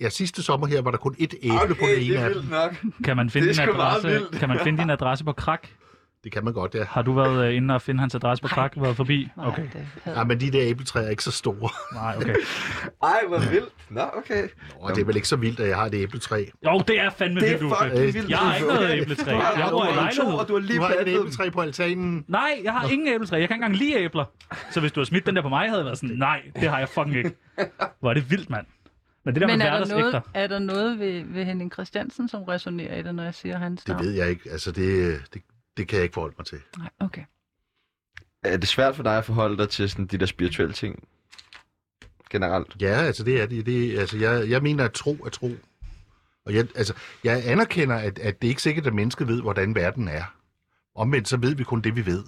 Speaker 7: ja, sidste sommer her var der kun et æble okay, på det ene
Speaker 3: det er
Speaker 7: af dem.
Speaker 3: vildt nok.
Speaker 2: Kan man finde,
Speaker 3: Det
Speaker 2: din
Speaker 3: er sgu meget
Speaker 2: adresse,
Speaker 3: vildt.
Speaker 2: kan man finde din adresse på Krak?
Speaker 7: Det kan man godt, ja.
Speaker 2: Har du været øh, inde og finde hans adresse på Krak? Været forbi?
Speaker 5: Nej,
Speaker 2: Okay,
Speaker 5: det havde...
Speaker 7: Ja, men de der æbletræer er ikke så store.
Speaker 2: nej, okay.
Speaker 3: Ej, hvor vildt. Nå, okay.
Speaker 7: Og det er vel ikke så vildt, at jeg har et æbletræ.
Speaker 2: Jo, det er fandme
Speaker 3: Det er
Speaker 2: vildt, Uffe.
Speaker 3: fucking vildt.
Speaker 2: Jeg har ikke
Speaker 3: Uffe.
Speaker 2: noget æbletræ.
Speaker 3: Du har-
Speaker 2: Jeg
Speaker 7: bor i
Speaker 3: du har to,
Speaker 2: lejlighed.
Speaker 3: og du har lige
Speaker 7: Du har et
Speaker 3: plantet dem.
Speaker 7: æbletræ på altanen.
Speaker 2: Nej, jeg har ingen æbletræ. Jeg kan ikke engang lide æbler. Så hvis du har smidt den der på mig, havde jeg været sådan, nej, det har jeg fucking ikke. Hvor er det vildt, mand. Men det der
Speaker 5: Men
Speaker 2: med
Speaker 5: er der,
Speaker 2: hverdagsægter,
Speaker 5: noget, er der noget ved, ved Henning Christiansen, som resonerer i det, når jeg siger hans
Speaker 7: Det
Speaker 5: navn?
Speaker 7: ved jeg ikke. Altså, det, det, det kan jeg ikke forholde mig til.
Speaker 5: Nej, okay.
Speaker 3: Er det svært for dig at forholde dig til sådan de der spirituelle ting? Generelt.
Speaker 7: Ja, altså det er det. det altså, jeg, jeg mener, at tro er tro. Og jeg, altså, jeg anerkender, at, at det er ikke sikkert, at mennesket ved, hvordan verden er. Omvendt så ved vi kun det, vi ved.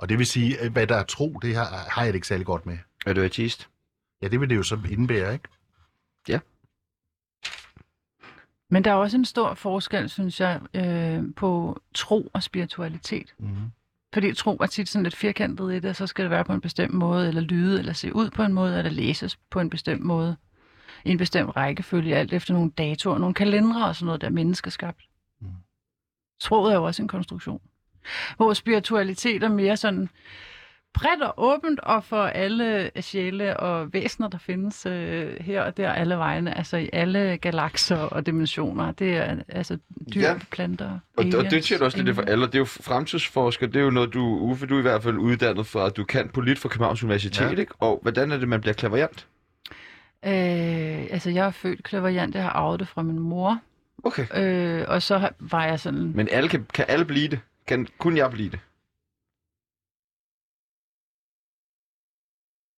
Speaker 7: Og det vil sige, at hvad der er tro, det har, har jeg det ikke særlig godt med.
Speaker 3: Er du ateist?
Speaker 7: Ja, det vil det jo så indebære, ikke?
Speaker 5: Men der er også en stor forskel, synes jeg, øh, på tro og spiritualitet.
Speaker 7: Mm-hmm.
Speaker 5: Fordi tro er tit sådan lidt firkantet i det, og så skal det være på en bestemt måde, eller lyde, eller se ud på en måde, eller læses på en bestemt måde. I en bestemt rækkefølge, alt efter nogle datoer, nogle kalendere og sådan noget, der er menneskeskabt.
Speaker 7: Mm.
Speaker 5: Mm. Troet er jo også en konstruktion. Hvor spiritualitet er mere sådan bredt og åbent, og for alle sjæle og væsener, der findes øh, her og der, alle vegne, altså i alle galakser og dimensioner. Det er altså dyr,
Speaker 3: Ja.
Speaker 5: ja. planter,
Speaker 3: Og, og det
Speaker 5: aliens,
Speaker 3: siger du også lidt det for
Speaker 5: engle.
Speaker 3: alle. Det er jo fremtidsforsker. Det er jo noget, du, Uffe, du er i hvert fald uddannet fra. Du kan polit fra Københavns Universitet, ja.
Speaker 7: Ja.
Speaker 3: ikke? Og hvordan er det, man bliver klaverjant?
Speaker 5: Øh, altså, jeg er født klaverjant, jeg har arvet det fra min mor.
Speaker 3: Okay.
Speaker 5: Øh, og så har- var jeg sådan...
Speaker 3: Men alle kan, kan alle blive det? Kan kun jeg blive det?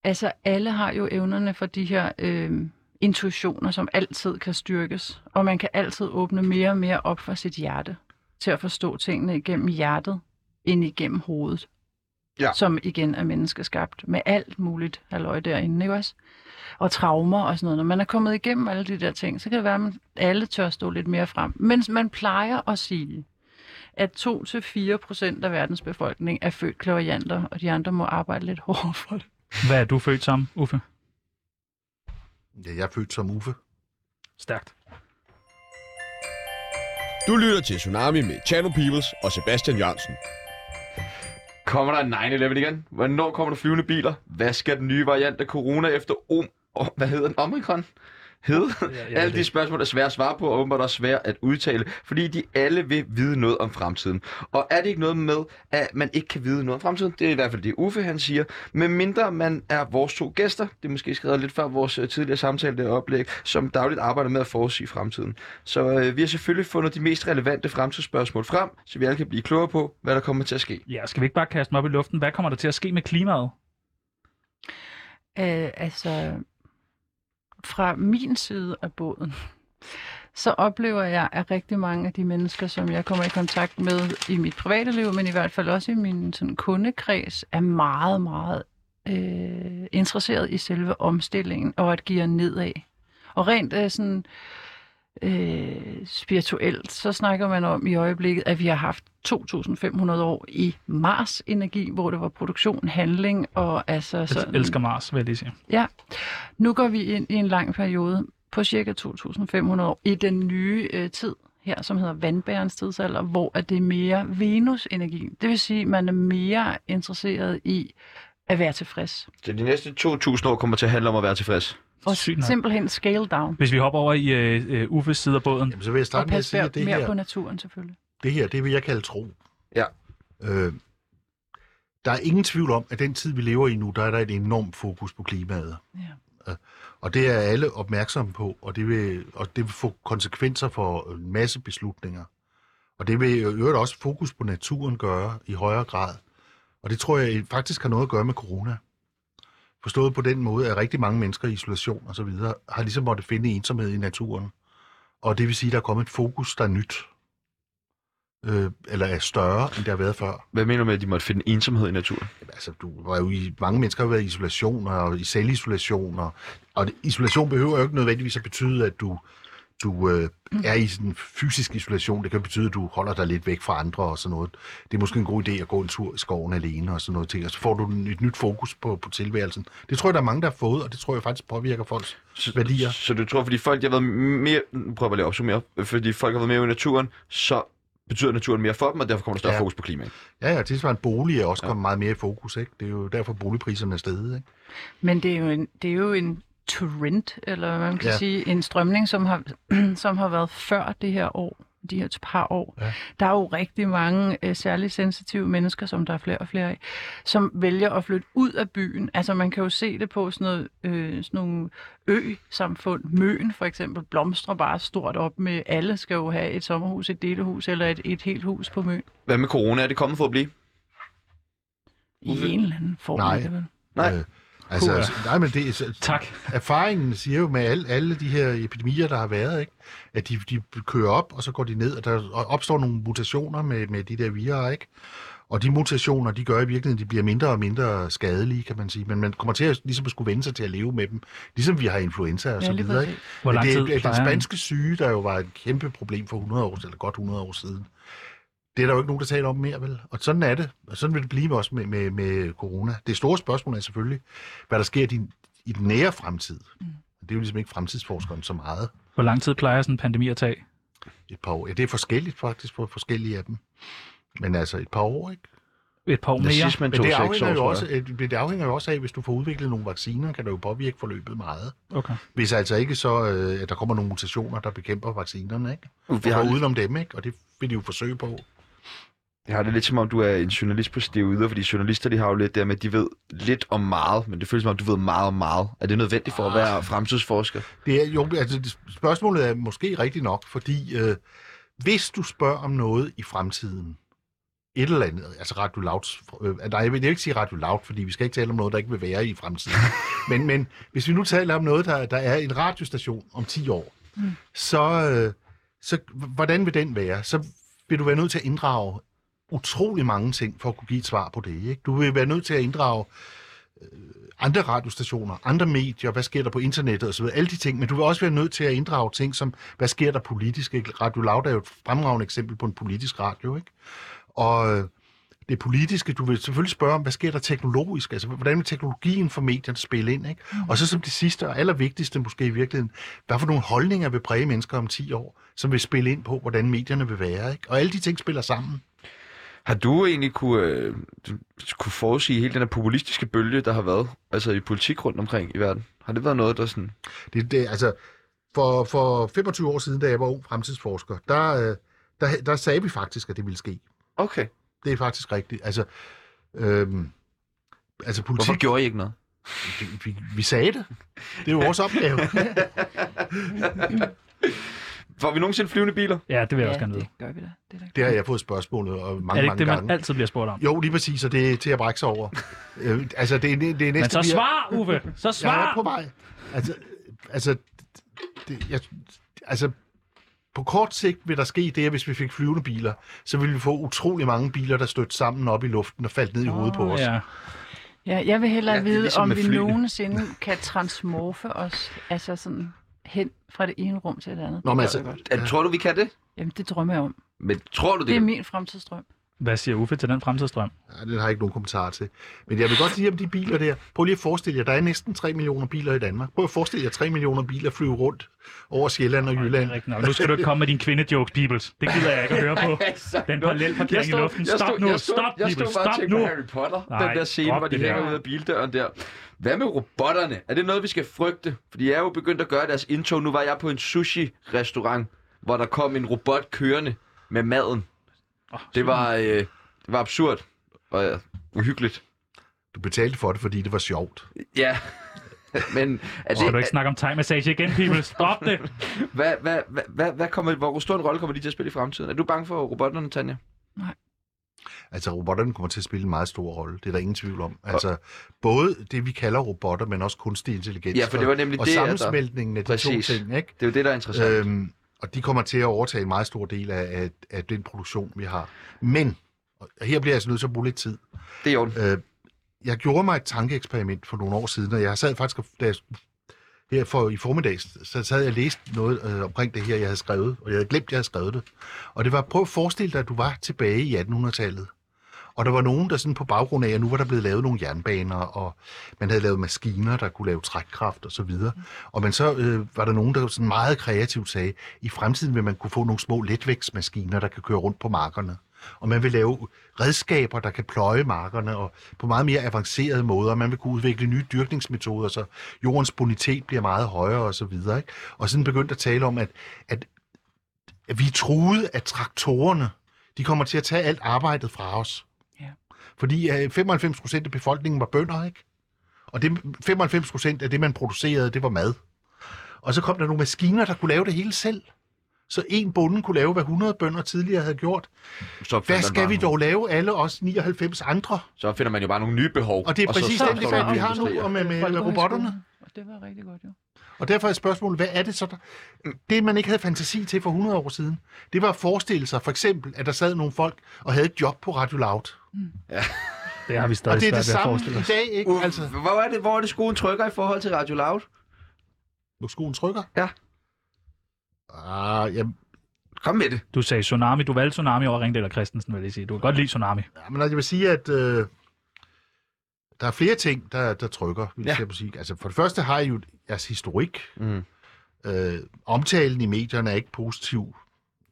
Speaker 5: Altså, alle har jo evnerne for de her øh, intuitioner, som altid kan styrkes. Og man kan altid åbne mere og mere op for sit hjerte, til at forstå tingene igennem hjertet, end igennem hovedet.
Speaker 3: Ja.
Speaker 5: Som igen er menneskeskabt med alt muligt halløj derinde, ikke også? Og traumer og sådan noget. Når man er kommet igennem alle de der ting, så kan det være, at man alle tør stå lidt mere frem. Men man plejer at sige, at 2-4 procent af verdens befolkning er født klaverjanter, og de andre må arbejde lidt hårdere for det.
Speaker 2: hvad er du født som, Uffe?
Speaker 7: Ja, jeg er født som Uffe.
Speaker 2: Stærkt.
Speaker 1: Du lytter til Tsunami med Channel Peoples og Sebastian Jørgensen.
Speaker 3: Kommer der en 9-11 igen? Hvornår kommer der flyvende biler? Hvad skal den nye variant af corona efter om... Oh, hvad hedder den? Omikron? Hed?
Speaker 2: ved
Speaker 3: alle de
Speaker 2: det.
Speaker 3: spørgsmål er svære at svare på, og åbenbart også svære at udtale, fordi de alle vil vide noget om fremtiden. Og er det ikke noget med, at man ikke kan vide noget om fremtiden? Det er i hvert fald det, Uffe han siger. Men mindre man er vores to gæster, det er måske skrevet lidt før vores øh, tidligere samtale, det oplæg, som dagligt arbejder med at forudsige fremtiden. Så øh, vi har selvfølgelig fundet de mest relevante fremtidsspørgsmål frem, så vi alle kan blive klogere på, hvad der kommer til at ske.
Speaker 2: Ja, skal vi ikke bare kaste dem op i luften? Hvad kommer der til at ske med klimaet?
Speaker 5: Øh, altså, fra min side af båden, så oplever jeg, at rigtig mange af de mennesker, som jeg kommer i kontakt med i mit private liv, men i hvert fald også i min sådan, kundekreds, er meget, meget øh, interesseret i selve omstillingen og at give nedad. Og rent øh, sådan, øh, spirituelt, så snakker man om i øjeblikket, at vi har haft 2.500 år i Mars-energi, hvor det var produktion, handling og altså
Speaker 2: Jeg
Speaker 5: sådan...
Speaker 2: elsker Mars, vil jeg lige sige.
Speaker 5: Ja, nu går vi ind i en lang periode på cirka 2.500 år i den nye øh, tid her, som hedder vandbærens tidsalder, hvor er det mere Venus-energi. Det vil sige, at man er mere interesseret i at være tilfreds.
Speaker 3: Så de næste 2.000 år kommer til at handle om at være tilfreds.
Speaker 5: Og
Speaker 2: Sygt nok.
Speaker 5: simpelthen scale down.
Speaker 2: Hvis vi hopper over i øh, øh, Uffes side af båden.
Speaker 7: Jamen, så vil jeg
Speaker 5: Og
Speaker 7: starte med at
Speaker 5: passe
Speaker 7: sige,
Speaker 5: mere,
Speaker 7: at det
Speaker 5: mere på
Speaker 7: her,
Speaker 5: naturen selvfølgelig.
Speaker 7: det her, det vil jeg kalde tro.
Speaker 3: Ja.
Speaker 7: Øh, der er ingen tvivl om, at den tid, vi lever i nu, der er der et enormt fokus på klimaet. Ja. Og det er alle opmærksomme på, og det, vil, og det vil få konsekvenser for en masse beslutninger. Og det vil i øvrigt også fokus på naturen gøre i højere grad. Og det tror jeg faktisk har noget at gøre med corona. Forstået på den måde, at rigtig mange mennesker i isolation og så videre har ligesom måtte finde ensomhed i naturen. Og det vil sige, at der er kommet et fokus, der er nyt. Øh, eller er større, end der har været før
Speaker 3: Hvad mener du med, at de måtte finde ensomhed i naturen?
Speaker 7: altså, du var jo i, mange mennesker har været i isolation og i selvisolation, og, og det- isolation behøver jo ikke nødvendigvis at betyde, at du, du øh, er i sådan en fysisk isolation. Det kan betyde, at du holder dig lidt væk fra andre og sådan noget. Det er måske en god idé at gå en tur i skoven alene og sådan noget ting, og så får du en- et nyt fokus på, på tilværelsen. Det tror jeg, der er mange, der har fået, og det tror jeg faktisk påvirker folks værdier.
Speaker 3: Så du tror, fordi folk de har været mere... Nu prøver jeg lige at opsummere. Fordi folk har været mere i naturen, så betyder naturen mere for dem, og derfor kommer der større ja.
Speaker 7: Ja.
Speaker 3: fokus på klimaet.
Speaker 7: Ja, ja, tilsvarende bolig er også kommet meget mere i fokus, ikke? Det er jo derfor, boligpriserne er steget, ikke?
Speaker 5: Men det er jo en, det er jo en trend, eller hvad man kan
Speaker 7: Ja.
Speaker 5: ja. sige, en strømning, som har, som har været før det her år, de her par år.
Speaker 7: Ja.
Speaker 5: Der er jo rigtig mange øh, særligt sensitive mennesker, som der er flere og flere af, som vælger at flytte ud af byen. Altså man kan jo se det på sådan, noget, øh, sådan nogle ø-samfund. Møen for eksempel blomstrer bare stort op med, alle skal jo have et sommerhus, et delehus eller et, et helt hus på Møn.
Speaker 3: Hvad med corona? Er det kommet for at blive?
Speaker 5: I
Speaker 3: Uffe?
Speaker 5: en eller anden form.
Speaker 7: Nej.
Speaker 5: er det vel?
Speaker 3: Nej.
Speaker 7: Øh, altså,
Speaker 2: Puha.
Speaker 7: altså, nej, men det er,
Speaker 2: Tak.
Speaker 7: erfaringen siger jo med alle, alle de her epidemier, der har været, ikke? at de, de kører op, og så går de ned, og der opstår nogle mutationer med, med de der virer, ikke? Og de mutationer, de gør i virkeligheden, de bliver mindre og mindre skadelige, kan man sige. Men man kommer til at, ligesom at skulle vende sig til at leve med dem, ligesom vi har influenza og
Speaker 5: Ja,
Speaker 7: så
Speaker 5: lige
Speaker 7: videre.
Speaker 5: præcis.
Speaker 7: Ikke?
Speaker 2: Hvor lang
Speaker 7: det
Speaker 2: tid
Speaker 7: er, det er den
Speaker 2: plejer en-
Speaker 7: spanske syge, der jo var et kæmpe problem for 100 år, eller godt 100 år siden. Det er der jo ikke nogen, der taler om mere, vel? Og sådan er det. Og sådan vil det blive også med, med, med corona. Det store spørgsmål er selvfølgelig, hvad der sker i, din, i den nære fremtid. Det er jo ligesom ikke fremtidsforskeren så meget.
Speaker 2: Hvor lang tid plejer sådan en pandemi at tage?
Speaker 7: Et par år. Ja, det er forskelligt faktisk på forskellige af dem. Men altså et par år, ikke?
Speaker 2: Et par år mere?
Speaker 3: man
Speaker 7: Men det
Speaker 3: seks
Speaker 7: afhænger, jo
Speaker 3: tror
Speaker 7: også,
Speaker 3: jeg.
Speaker 7: øh, det afhænger jo også af, hvis du får udviklet nogle vacciner, kan det jo påvirke forløbet meget.
Speaker 2: Okay.
Speaker 7: Hvis altså ikke så, øh, at der kommer nogle mutationer, der bekæmper vaccinerne, ikke?
Speaker 3: Uh,
Speaker 7: Vi
Speaker 3: Jeg
Speaker 7: har
Speaker 3: har,
Speaker 7: udenom dem, ikke? Og det vil de jo forsøge på.
Speaker 3: jeg har det lidt som om, du er en journalist på stivider, fordi journalister de har jo lidt der med, at de ved lidt om meget, men det føles som om, du ved meget om meget. Er det nødvendigt for at
Speaker 7: Ah.
Speaker 3: være fremtidsforsker?
Speaker 7: Det er jo, altså, det- spørgsmålet er måske rigtigt nok, fordi øh, hvis du spørger om noget i fremtiden, et eller andet, altså Radio Louds, øh, nej, jeg vil ikke sige Radio Loud, fordi vi skal ikke tale om noget, der ikke vil være i fremtiden. men, men hvis vi nu taler om noget, der, der er en radiostation om 10 år, mm. så, øh, så hvordan vil den være? Så vil du være nødt til at inddrage utrolig mange ting for at kunne give et svar på det. Ikke? Du vil være nødt til at inddrage andre radiostationer, andre medier, hvad sker der på internettet osv., alle de ting, men du vil også være nødt til at inddrage ting som, hvad sker der politisk? Ikke? Radio Loud er jo et fremragende eksempel på en politisk radio, ikke? Og øh, det politiske. Du vil selvfølgelig spørge om, hvad sker der teknologisk? Altså, hvordan vil teknologien for medierne spille ind? Ikke? Mm. Og så som det sidste og allervigtigste måske i virkeligheden, hvad for nogle holdninger vil præge mennesker om 10 år, som vil spille ind på, hvordan medierne vil være? Ikke? Og alle de ting spiller sammen.
Speaker 3: Har du egentlig kunne, øh, kunne forudsige hele den her populistiske bølge, der har været altså i politik rundt omkring i verden? Har det været noget, der sådan...
Speaker 7: Det, det, altså, for, for 25 år siden, da jeg var ung fremtidsforsker, der, øh, der, der sagde vi faktisk, at det ville ske.
Speaker 3: Okay.
Speaker 7: Det er faktisk rigtigt. Altså, øhm, altså politik,
Speaker 3: Hvorfor gjorde I ikke noget?
Speaker 7: det- vi, vi sagde det. Det er jo vores opgave.
Speaker 3: Får vi nogensinde flyvende biler?
Speaker 2: Ja, det vil jeg ja, også gerne vide.
Speaker 5: det gør vi da. Det er da.
Speaker 7: Det har jeg fået spørgsmålet og mange,
Speaker 2: er det ikke
Speaker 7: mange
Speaker 2: det, man
Speaker 7: gange.
Speaker 2: altid bliver spurgt om?
Speaker 7: Jo, lige præcis, og det er til at brække sig over. øh, altså, det, er- det er næste...
Speaker 2: Men så
Speaker 7: vi er-
Speaker 2: svar, Uffe! Så
Speaker 7: Jeg
Speaker 2: svar!
Speaker 7: er på vej. Altså, altså, det, jeg, altså, på kort sigt vil der ske det, at hvis vi fik flyvende biler, så ville vi få utrolig mange biler, der stødte sammen op i luften og faldt ned i hovedet på os.
Speaker 2: Ja.
Speaker 5: Ja, jeg vil hellere
Speaker 3: Ja,
Speaker 5: ja,
Speaker 3: det er ligesom
Speaker 5: vide, ligesom om
Speaker 3: med
Speaker 5: vi
Speaker 3: flyene.
Speaker 5: nogensinde kan transmorfe os altså sådan hen fra det ene rum til det andet.
Speaker 7: Nå, men
Speaker 5: Det gad jeg
Speaker 7: altså,
Speaker 5: godt.
Speaker 3: Ja. Tror du, vi kan det?
Speaker 5: Jamen, det drømmer jeg om.
Speaker 3: Men tror du det?
Speaker 5: Det er min fremtidsdrøm.
Speaker 2: Hvad siger Uffe til den fremtidsdrøm?
Speaker 7: ja, det har jeg ikke nogen kommentar til. Men jeg vil godt sige om de biler der. Prøv lige at forestille jer, der er næsten 3 millioner biler i Danmark. Prøv at forestille jer 3 millioner biler flyve rundt over Sjælland og Jylland.
Speaker 2: Rigtig nok. Nu skal du ikke komme med dine kvindejokes, Bibels. Det gider jeg ikke at høre på. Den parallel parkering i luften. Stop nu,
Speaker 3: altså. jeg stod,
Speaker 2: stop,
Speaker 3: jeg stod
Speaker 2: Bibels,
Speaker 3: bare og
Speaker 2: stop
Speaker 3: tænkte
Speaker 2: nu!
Speaker 3: på Harry Potter, Nej,
Speaker 2: Nej,
Speaker 3: den der scene,
Speaker 2: drop
Speaker 3: hvor de
Speaker 2: det der.
Speaker 3: hænger ud af bildøren der. Hvad med robotterne? Er det noget, vi skal frygte? Fordi jeg er jo begyndt at gøre deres indtog. Nu var jeg på en sushi-restaurant, hvor der kom en robot kørende med maden.
Speaker 2: Åh,
Speaker 3: Det var, øh, det var absurd og ja, uhyggeligt.
Speaker 7: Du betalte for det, fordi det var sjovt.
Speaker 3: Ja, men er
Speaker 2: Skal du
Speaker 3: det,
Speaker 2: ikke snakke om time-massage igen, Bibels? Stop det!
Speaker 3: hvad, hvad, hvad, hvad, hvad kommer, hvor stor en rolle kommer de til at spille i fremtiden? Er du bange for robotterne, Tanja?
Speaker 7: Altså, robotterne kommer til at spille en meget stor rolle. Det er der ingen tvivl om. Altså, både det, vi kalder robotter, men også kunstig intelligens.
Speaker 3: Ja, for det var nemlig
Speaker 7: og, og
Speaker 3: det, at der-
Speaker 7: sammensmeltningen af de
Speaker 3: Præcis.
Speaker 7: to ting, ikke?
Speaker 3: Det er jo det, der er interessant. Øh,
Speaker 7: Øhm, og de kommer til at overtage en meget stor del af, af, af den produktion, vi har. Men, og her bliver jeg altså nødt til at bruge lidt tid.
Speaker 3: det er i orden.
Speaker 7: Øh, jeg gjorde mig et tankeeksperiment for nogle år siden, og jeg sad faktisk, og- da jeg, her for, i formiddags, så sad jeg og læste noget øh, omkring det her, jeg havde skrevet, og jeg havde glemt, at jeg havde skrevet det. Og det var, prøv at forestille dig, at du var tilbage i 1800-tallet. Og der var nogen, der sådan på baggrund af, at nu var der blevet lavet nogle jernbaner, og man havde lavet maskiner, der kunne lave trækkraft og så videre. Og men så øh, var der nogen, der sådan meget kreativt sagde, i fremtiden vil man kunne få nogle små letvægtsmaskiner, der kan køre rundt på markerne. Og man vil lave redskaber, der kan pløje markerne og på meget mere avancerede måder. Man vil kunne udvikle nye dyrkningsmetoder, så jordens bonitet bliver meget højere osv. Og, så videre, ikke? og sådan begyndte at tale om, at, at at vi troede, at traktorerne, de kommer til at tage alt arbejdet fra os.
Speaker 5: Ja.
Speaker 7: Fordi øh, 95 procent af befolkningen var bønder, ikke? Og det, 95 procent af det, man producerede, det var mad. Og så kom der nogle maskiner, der kunne lave det hele selv. Så en bonde kunne lave, hvad 100 bønder tidligere havde gjort.
Speaker 3: Så opfinder
Speaker 7: Hvad
Speaker 3: man
Speaker 7: skal
Speaker 3: bare
Speaker 7: vi
Speaker 3: nogle-
Speaker 7: dog lave, alle os 99 andre?
Speaker 3: Så finder man jo bare nogle nye behov.
Speaker 7: Og det er præcis
Speaker 5: så
Speaker 7: den
Speaker 5: opstår
Speaker 7: debat,
Speaker 5: der
Speaker 7: vi
Speaker 5: nye
Speaker 7: har nu og med, med, med robotterne.
Speaker 5: Og det var rigtig godt, jo.
Speaker 7: Og derfor er spørgsmålet, hvad er det så, der... Det, man ikke havde fantasi til for 100 år siden, det var at forestille sig for eksempel, at der sad nogle folk og havde et job på Radio Loud.
Speaker 2: Det har vi stadig
Speaker 7: Og det
Speaker 2: svært
Speaker 7: er det
Speaker 2: ved at
Speaker 7: samme
Speaker 2: forestille
Speaker 7: i
Speaker 2: os.
Speaker 7: dag, ikke?
Speaker 3: Uh,
Speaker 7: Altså,
Speaker 3: altså... hvor, er det, hvor er det skoen trykker i forhold til Radio Loud?
Speaker 7: nu skoen trykker.
Speaker 3: Ja.
Speaker 7: Ah, jamen,
Speaker 3: Kom med det.
Speaker 2: Du sagde tsunami. Du valgte tsunami over Ringdal og Christensen, vil jeg lige sige. Du kan godt lide tsunami.
Speaker 7: jamen, jeg vil sige, at øh, der er flere ting, der, der trykker, vil
Speaker 3: Ja.
Speaker 7: ja. jeg sige. Altså, for det første har I jo jeres historik.
Speaker 3: Mm.
Speaker 7: Øh, omtalen i medierne er ikke positiv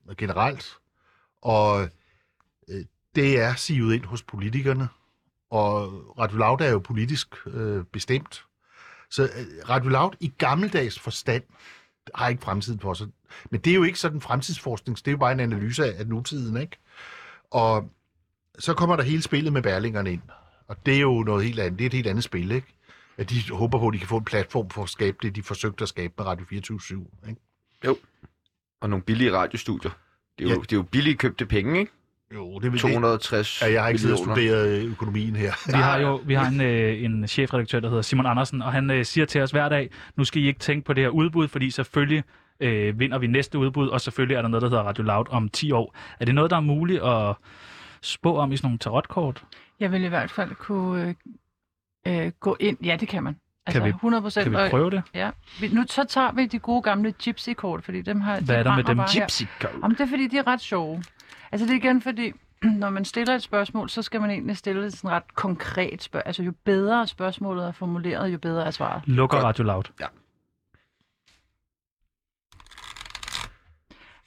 Speaker 7: øh, generelt, og øh, det er sivet ind hos politikerne, og Radio Loud er jo politisk øh, bestemt. Så øh, Radio Loud i gammeldags forstand har ikke fremtiden for sig. Men det er jo ikke sådan fremtidsforskning, det er jo bare en analyse af, af nutiden, ikke? Og så kommer der hele spillet med værlingerne ind, og det er jo noget helt andet, det er et helt andet spil, ikke? at de håber på, at de kan få en platform for at skabe det, de forsøgte at skabe med Radio 24-7. Ikke?
Speaker 3: Og nogle billige radiostudier. Det er, jo,
Speaker 7: Ja.
Speaker 3: det er jo billige købte penge, ikke?
Speaker 7: Jo, det vil
Speaker 3: 260
Speaker 7: Ja, jeg har ikke siddet og
Speaker 3: millioner.
Speaker 7: studeret øh, økonomien her.
Speaker 2: Vi har jo vi har en, øh, en chefredaktør, der hedder Simon Andersen, og han øh, siger til os hver dag, nu skal I ikke tænke på det her udbud, fordi selvfølgelig øh, vinder vi næste udbud, og selvfølgelig er der noget, der hedder Radio Loud om 10 år. Er det noget, der er muligt at spå om i sådan nogle tarotkort?
Speaker 5: Jeg vil i hvert fald kunne øh, øh, gå ind. Ja, det kan man. Altså
Speaker 2: Kan vi-
Speaker 5: 100 procent.
Speaker 2: Kan vi prøve det?
Speaker 5: Ja. Vi- Nu så tager vi de gode gamle gypsy-kort, fordi dem har... de
Speaker 2: Hvad er der med
Speaker 5: brænder
Speaker 2: dem?
Speaker 5: bare her.
Speaker 3: Gypsy Goat.
Speaker 5: Jamen, det er fordi, de er ret sjove. Altså, det er igen fordi, når man stiller et spørgsmål, så skal man egentlig stille et sådan ret konkret spørgsmål. Altså jo bedre spørgsmålet er formuleret, jo bedre er svaret.
Speaker 2: Lukker
Speaker 3: Godt.
Speaker 2: Radio Loud.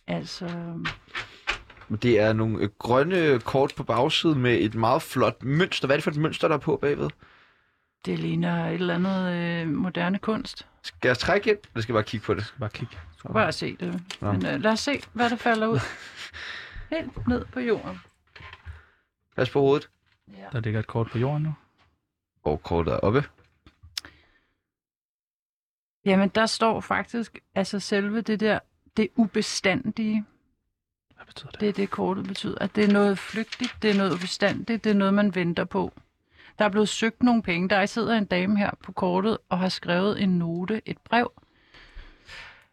Speaker 5: Altså,
Speaker 3: Men Det er nogle øh, grønne kort på bagsiden med et meget flot mønster. Hvad er det for et mønster, der er på bagved?
Speaker 5: det ligner et eller andet øh, moderne kunst.
Speaker 3: Skal jeg trække ind? Eller skal jeg bare kigge på det?
Speaker 2: Bare kig.
Speaker 5: Du kan bare se det.
Speaker 3: Nå.
Speaker 5: Men øh, lad os se, hvad der falder ud. Helt ned på jorden.
Speaker 3: Pas på hovedet.
Speaker 5: Ja.
Speaker 2: Der ligger et kort på jorden nu.
Speaker 3: Og kortet er oppe.
Speaker 5: Jamen, der står faktisk, altså selve det der, det ubestandige,
Speaker 2: Hvad betyder det?
Speaker 5: det er det kortet betyder, at det er noget flygtigt, det er noget ubestandigt, det er noget, man venter på. Der er blevet søgt nogle penge. Der sidder en dame her på kortet og har skrevet en note, et brev.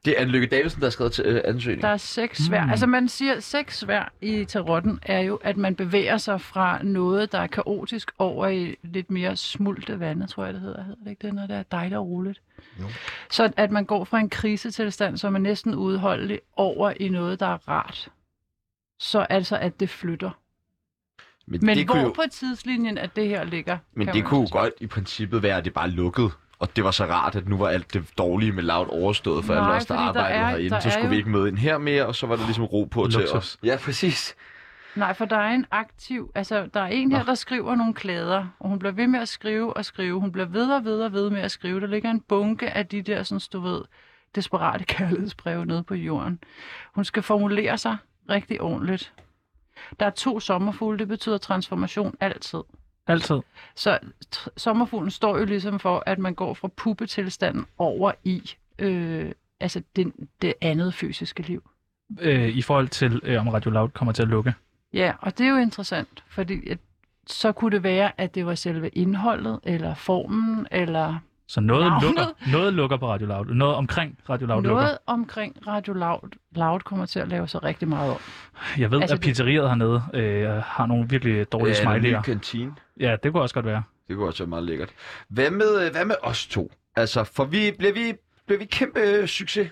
Speaker 3: Det er Anne Lykke Davidsen, der har skrevet til øh, ansøgningen.
Speaker 5: Der er seks svær.
Speaker 2: Mm.
Speaker 5: Mm. Altså man siger, seks svær i tarotten er jo, at man bevæger sig fra noget, der er kaotisk, over i lidt mere smulte vande, tror jeg det hedder. Hedder det ikke det, når det er dejligt og roligt?
Speaker 7: Jo.
Speaker 5: Så at man går fra en krisetilstand, som er næsten udholdelig, over i noget, der er rart. Så altså, at det flytter. Men det hvor
Speaker 3: kunne
Speaker 5: jo...
Speaker 3: jo,
Speaker 5: på tidslinjen, at det her ligger?
Speaker 3: men
Speaker 5: kan
Speaker 3: det
Speaker 5: man
Speaker 3: kunne
Speaker 5: jo
Speaker 3: jo godt i princippet være, at det bare lukkede. Og det var så rart, at nu var alt det dårlige med lavt overstået for
Speaker 5: Nej,
Speaker 3: alle os, der
Speaker 5: fordi der
Speaker 3: arbejdede
Speaker 5: er-
Speaker 3: herinde.
Speaker 5: der
Speaker 3: Så
Speaker 5: er
Speaker 3: skulle
Speaker 5: jo-
Speaker 3: vi ikke møde ind her mere, og så var der ligesom ro på til
Speaker 2: Luksus.
Speaker 3: os. Ja, præcis.
Speaker 5: Nej, for der er en aktiv, altså der er en her, der skriver nogle klæder, og hun bliver ved med at skrive og skrive. Hun bliver ved og ved og ved med at skrive. Der ligger en bunke af de der, sådan, du ved, desperate kærlighedsbreve nede på jorden. Hun skal formulere sig rigtig ordentligt. Der er to sommerfugle, det betyder transformation altid.
Speaker 2: Altid.
Speaker 5: Så t- sommerfuglen står jo ligesom for, at man går fra puppetilstanden over i øh, altså det, det andet fysiske liv.
Speaker 2: Øh, I forhold til, øh, om Radio Loud kommer til at lukke.
Speaker 5: Ja, og det er jo interessant, fordi at, så kunne det være, at det var selve indholdet, eller formen, eller
Speaker 2: Så noget,
Speaker 5: Navnet.
Speaker 2: lukker, noget lukker på Radio Loud. Noget omkring Radio Loud
Speaker 5: noget
Speaker 2: lukker.
Speaker 5: omkring Radio Loud. Loud kommer til at lave sig rigtig meget om.
Speaker 2: Jeg ved, altså,
Speaker 5: Altså,
Speaker 2: at
Speaker 5: det-
Speaker 2: pizzeriet hernede øh, har nogle virkelig dårlige
Speaker 3: Ja, en Øh, ny
Speaker 2: smiley'er.
Speaker 3: kantine.
Speaker 2: Ja, det kunne også godt være.
Speaker 3: Det kunne også være meget lækkert. Hvad med, øh, hvad med os to? Altså, for vi, bliver, vi, bliver vi kæmpe øh, succes?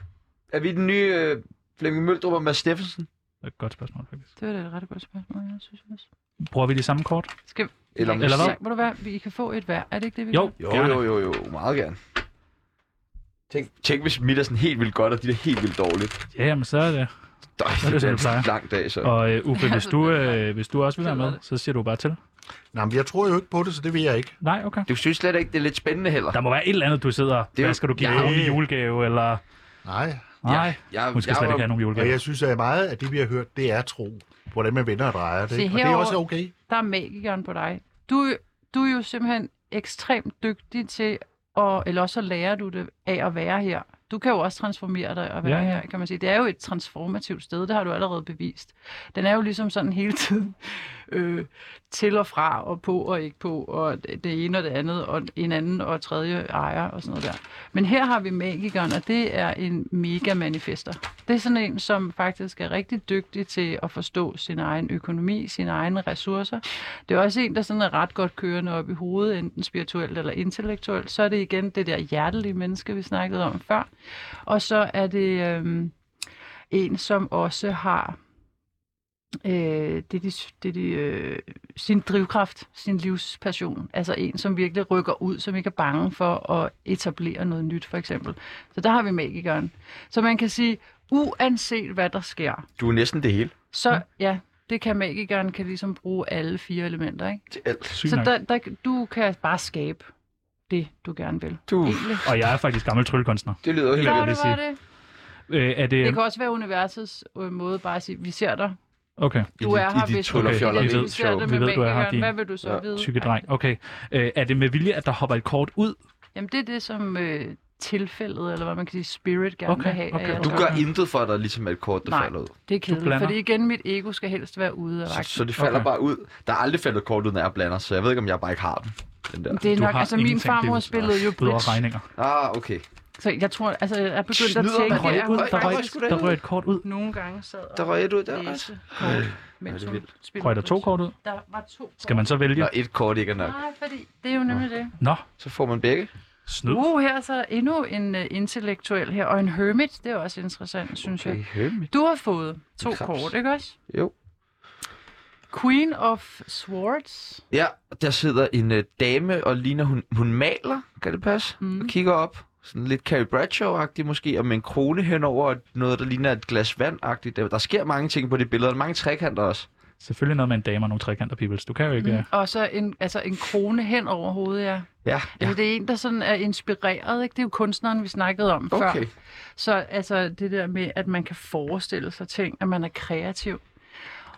Speaker 3: Er vi den nye øh, Flemming Møldrup og Mads Steffensen?
Speaker 2: Det er et godt spørgsmål, faktisk.
Speaker 5: Det var da et ret godt spørgsmål, jeg synes også.
Speaker 2: Bruger vi de samme kort?
Speaker 5: Skal,
Speaker 3: Eller,
Speaker 2: Eller hvad?
Speaker 5: Ja, Må du være, vi kan få et hver. Er det ikke det, vi
Speaker 2: Jo,
Speaker 5: Kan?
Speaker 3: Jo,
Speaker 2: gerne.
Speaker 3: jo, jo, jo, meget gerne. Tænk, tænk hvis mit er sådan helt vildt godt, og dit er helt vildt dårligt.
Speaker 2: Ja, men så er det.
Speaker 3: Døj,
Speaker 2: det,
Speaker 3: det, det
Speaker 2: som det
Speaker 3: er
Speaker 2: plejer.
Speaker 3: en lang dag, så.
Speaker 2: Og øh, Uffe, hvis
Speaker 5: så
Speaker 2: du,
Speaker 5: det er-
Speaker 2: øh, hvis du også vil være
Speaker 5: det er
Speaker 2: med,
Speaker 5: det.
Speaker 2: så siger du bare til.
Speaker 7: Nej, men jeg tror jo ikke på det, så det vil jeg ikke.
Speaker 2: Nej, okay.
Speaker 3: Du synes slet ikke, det er lidt spændende heller?
Speaker 2: Der må være et eller andet, du sidder.
Speaker 3: er jo-
Speaker 2: Hvad skal du give
Speaker 3: Ja.
Speaker 2: ham i julegave? Eller...
Speaker 7: Nej.
Speaker 2: Nej,
Speaker 3: jeg,
Speaker 2: hun skal
Speaker 3: jeg
Speaker 2: slet
Speaker 3: var-
Speaker 2: ikke have nogen
Speaker 7: Og
Speaker 2: julegave.
Speaker 7: jeg synes at meget af det, vi har hørt, det er tro. Hvordan man vender og drejer det.
Speaker 5: Se,
Speaker 7: ikke? Og det er
Speaker 5: herovre-
Speaker 7: også okay.
Speaker 5: Der er magikeren på dig. Du, du er jo simpelthen ekstremt dygtig til, at, eller også så lærer du det af at være her. Du kan jo også transformere dig og være
Speaker 2: Ja,
Speaker 5: ja,
Speaker 2: ja.
Speaker 5: ja. her, kan man sige. Det er jo et transformativt sted, det har du allerede bevist. Den er jo ligesom sådan hele tiden øh, til og fra, og på og ikke på, og det det ene og det andet, og en anden og tredje ejer og sådan noget der. Men her har vi magikeren, og det er en mega manifester. Det er sådan en, som faktisk er rigtig dygtig til at forstå sin egen økonomi, sine egne ressourcer. Det er også en, der sådan er ret godt kørende op i hovedet, enten spirituelt eller intellektuelt. Så er det igen det der hjertelige menneske, vi snakkede om før. Og så er det øhm, en, som også har øh, det, er de, det er de, øh, sin drivkraft, sin livspassion. Altså en, som virkelig rykker ud, som ikke er bange for at etablere noget nyt, for eksempel. Så der har vi magikeren. Så man kan sige, uanset hvad der sker,
Speaker 3: Du er næsten det hele.
Speaker 2: Mm.
Speaker 5: så ja, det kan magikeren kan ligesom bruge alle fire elementer, ikke?
Speaker 3: Til alt.
Speaker 2: Sygt
Speaker 5: Så
Speaker 2: nok.
Speaker 5: der, der, du kan bare skabe det, du gerne vil.
Speaker 3: Du,
Speaker 5: Egentlig.
Speaker 2: Og jeg er faktisk gammel tryllekunstner.
Speaker 3: det lyder helt
Speaker 5: Så
Speaker 2: jeg
Speaker 5: var
Speaker 2: lige
Speaker 5: det,
Speaker 2: sige.
Speaker 5: var det.
Speaker 2: Øh, er det...
Speaker 5: Det kan også være universets øh, måde bare at sige, vi ser dig.
Speaker 2: Okay,
Speaker 5: Du
Speaker 3: dit-
Speaker 5: er
Speaker 3: i
Speaker 5: her,
Speaker 3: dit
Speaker 5: hvis du
Speaker 3: tullerfjoller
Speaker 5: hvis
Speaker 3: ved
Speaker 5: vi ser
Speaker 3: show.
Speaker 5: det
Speaker 2: Vi
Speaker 5: med
Speaker 2: ved, du er her,
Speaker 5: magikeren.
Speaker 2: din-
Speaker 5: Hvad vil du så
Speaker 3: Ja,
Speaker 5: vide?
Speaker 2: tykke dreng. Okay. Øh, er det med vilje, at der hopper et kort ud?
Speaker 5: Jamen, det er det, som øh, tilfældet, eller hvad man kan sige, spirit gerne
Speaker 2: Okay,
Speaker 5: vil have.
Speaker 2: okay.
Speaker 5: af jer.
Speaker 3: du gør intet for, at der ligesom er et kort, der
Speaker 5: Nej.
Speaker 3: falder ud.
Speaker 5: Det er kedeligt,
Speaker 2: blander.
Speaker 5: fordi igen, mit ego skal helst være ude af
Speaker 3: Så,
Speaker 5: vagten.
Speaker 3: så det falder
Speaker 2: Okay.
Speaker 3: okay. bare ud. Der er aldrig faldet et kort ud, når jeg blander, så jeg ved ikke, om jeg bare ikke har den. den der.
Speaker 5: Det er
Speaker 2: Du
Speaker 5: nok,
Speaker 2: har
Speaker 5: altså min
Speaker 2: ingenting,
Speaker 5: farmor
Speaker 2: det er jo-
Speaker 5: spillede jo
Speaker 2: Ud over
Speaker 5: bridge,
Speaker 2: regninger.
Speaker 3: Ah, okay.
Speaker 5: så jeg tror, altså jeg er begyndt at
Speaker 3: Snyder
Speaker 5: tænke,
Speaker 3: man?
Speaker 5: at
Speaker 2: Røg
Speaker 5: jeg
Speaker 2: ud,
Speaker 5: kunne
Speaker 2: der røg,
Speaker 5: faktisk
Speaker 2: der røg et kort ud.
Speaker 5: nogle gange sad og
Speaker 3: Der røg et ud der også.
Speaker 5: læse kort, mens
Speaker 3: det
Speaker 5: hun
Speaker 3: vildt.
Speaker 5: spillede
Speaker 2: Røg der to
Speaker 5: bridge.
Speaker 2: kort ud?
Speaker 5: Der var to kort.
Speaker 2: Skal man så vælge?
Speaker 3: Når et kort ikke er nok,
Speaker 5: Nej, fordi det er jo nemlig det.
Speaker 2: Nå,
Speaker 3: så får man begge.
Speaker 2: snyd.
Speaker 5: Uh, her er så endnu en uh, intellektuel her, og en hermit, det er også interessant, synes jeg.
Speaker 3: Okay,
Speaker 5: Du har fået to
Speaker 3: En krebs.
Speaker 5: kort, ikke også?
Speaker 3: Jo.
Speaker 5: Queen of Swords.
Speaker 3: Ja, og der sidder en øh, dame og ligner, hun, hun maler, kan det passe? Mm.
Speaker 5: Mm.
Speaker 3: Og kigger op, sådan lidt Carrie Bradshaw-agtig måske, og med en krone henover, og noget, der ligner et glas vand-agtigt. Der, der sker mange ting på det billede, og der er mange trekanter også.
Speaker 2: Selvfølgelig noget med en dame og nogle trekanter, Pibbles. Du kan jo ikke... Mm.
Speaker 5: Og så en, altså en krone hen over hovedet, ja.
Speaker 3: Ja,
Speaker 5: Ja.
Speaker 3: ja.
Speaker 5: Altså, det er en, der sådan er inspireret, ikke? Det er jo kunstneren, vi snakkede om før.
Speaker 3: Okay.
Speaker 5: Så altså det der med, at man kan forestille sig ting, at man er kreativ.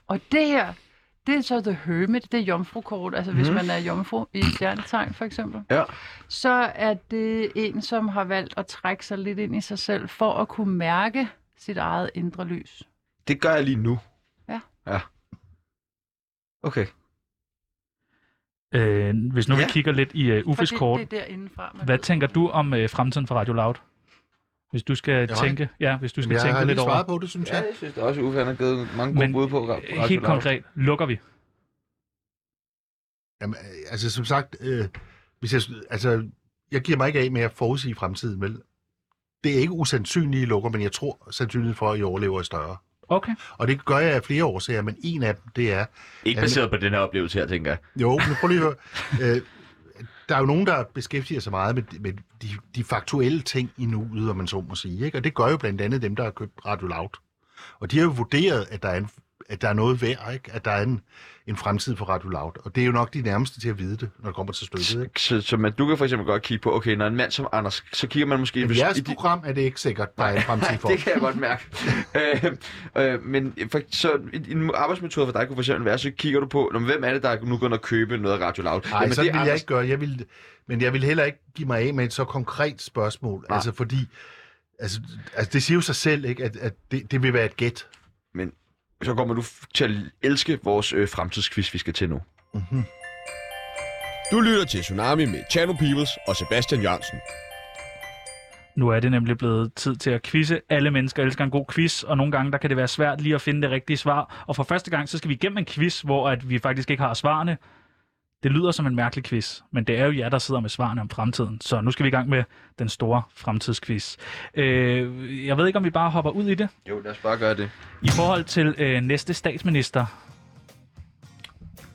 Speaker 5: Og det her, det er så The Hermit, det er jomfrukort, altså mm. hvis man er jomfru i stjernetegn for eksempel.
Speaker 3: Mhm. Ja.
Speaker 5: Så er det en, som har valgt at trække sig lidt ind i sig selv, for at kunne mærke sit eget indre lys.
Speaker 3: Det gør jeg lige nu.
Speaker 5: Ja.
Speaker 3: Ja. Okay.
Speaker 2: Øh, hvis nu ja.
Speaker 3: Ja.
Speaker 2: vi kigger lidt i øh, Uffes
Speaker 5: Mm. Fordi
Speaker 2: kort,
Speaker 5: det er derindefra, man
Speaker 2: hvad
Speaker 5: ved.
Speaker 2: tænker du om øh, fremtiden for Radio Loud? Hvis du skal
Speaker 7: Jeg har
Speaker 2: tænke, ja, hvis du skal
Speaker 7: Jamen, jeg
Speaker 2: tænke
Speaker 7: har
Speaker 2: lidt
Speaker 7: lidt
Speaker 2: over.
Speaker 7: svaret på det, synes
Speaker 3: Ja,
Speaker 7: jeg.
Speaker 3: jeg synes da også, Uffe han har givet mange gode
Speaker 2: Men, øh,
Speaker 3: bud på. Ra- Radio
Speaker 2: Helt
Speaker 3: Loud.
Speaker 2: konkret, lukker vi?
Speaker 7: Jamen, øh, altså som sagt, øh, hvis jeg, altså, jeg giver mig ikke af med at forudsige fremtiden, vel? Det er ikke usandsynlige I lukker, men jeg tror sandsynligheden for, at I overlever er større.
Speaker 2: Okay.
Speaker 7: Og det gør jeg af flere årsager, men en af dem, det er,
Speaker 3: Ikke baseret på den her oplevelse her, tænker jeg.
Speaker 7: Jo, men prøv lige at høre. Øh, der er jo nogen, der beskæftiger sig meget med, med de, de faktuelle ting i nuet, om man så må sige. Ikke? Og det gør jo blandt andet dem, der har købt Radio Loud. Og de har jo vurderet, at der er, en, at der er noget værd, ikke? at der er en, en fremtid for Radio Loud. Og det er jo nok de nærmeste til at vide det, når det kommer til stykket. Ikke?
Speaker 3: Så, så man, du kan for eksempel godt kigge på, okay, når en mand som Anders, så kigger man måske...
Speaker 7: I
Speaker 3: hvis-
Speaker 7: jeres
Speaker 3: i de-
Speaker 7: program er det ikke sikkert, der er en fremtid for.
Speaker 3: det kan jeg godt mærke. øh, øh, men for, så en, en arbejdsmetode for dig kunne for eksempel være, så kigger du på, "Nå, men hvem er det, der er nu går og købe noget af Radio Loud?
Speaker 7: Nej, sådan
Speaker 3: det
Speaker 7: ville
Speaker 3: er
Speaker 7: jeg ikke gøre. Jeg ville, men jeg vil heller ikke give mig af med et så konkret spørgsmål.
Speaker 3: Nej.
Speaker 7: Altså fordi, altså, altså det siger jo sig selv, ikke, at, at det, det vil være et gæt.
Speaker 3: Så kommer du f- til at elske vores øh, fremtidsquiz, vi skal til nu.
Speaker 1: Du lytter til Tsunami med Chano Peoples og Sebastian Jørgensen.
Speaker 2: Nu er det nemlig blevet tid til at quizze. Alle mennesker elsker en god quiz, og nogle gange der kan det være svært lige at finde det rigtige svar. Og for første gang, så skal vi igennem en quiz, hvor at vi faktisk ikke har svarene. Det lyder som en mærkelig quiz, men det er jo jer, der sidder med svarene om fremtiden. Så nu skal vi i gang med den store fremtidsquiz. Øh, jeg ved ikke, om vi bare hopper ud i det.
Speaker 3: Jo, lad os bare gøre det.
Speaker 2: I forhold til øh, næste statsminister,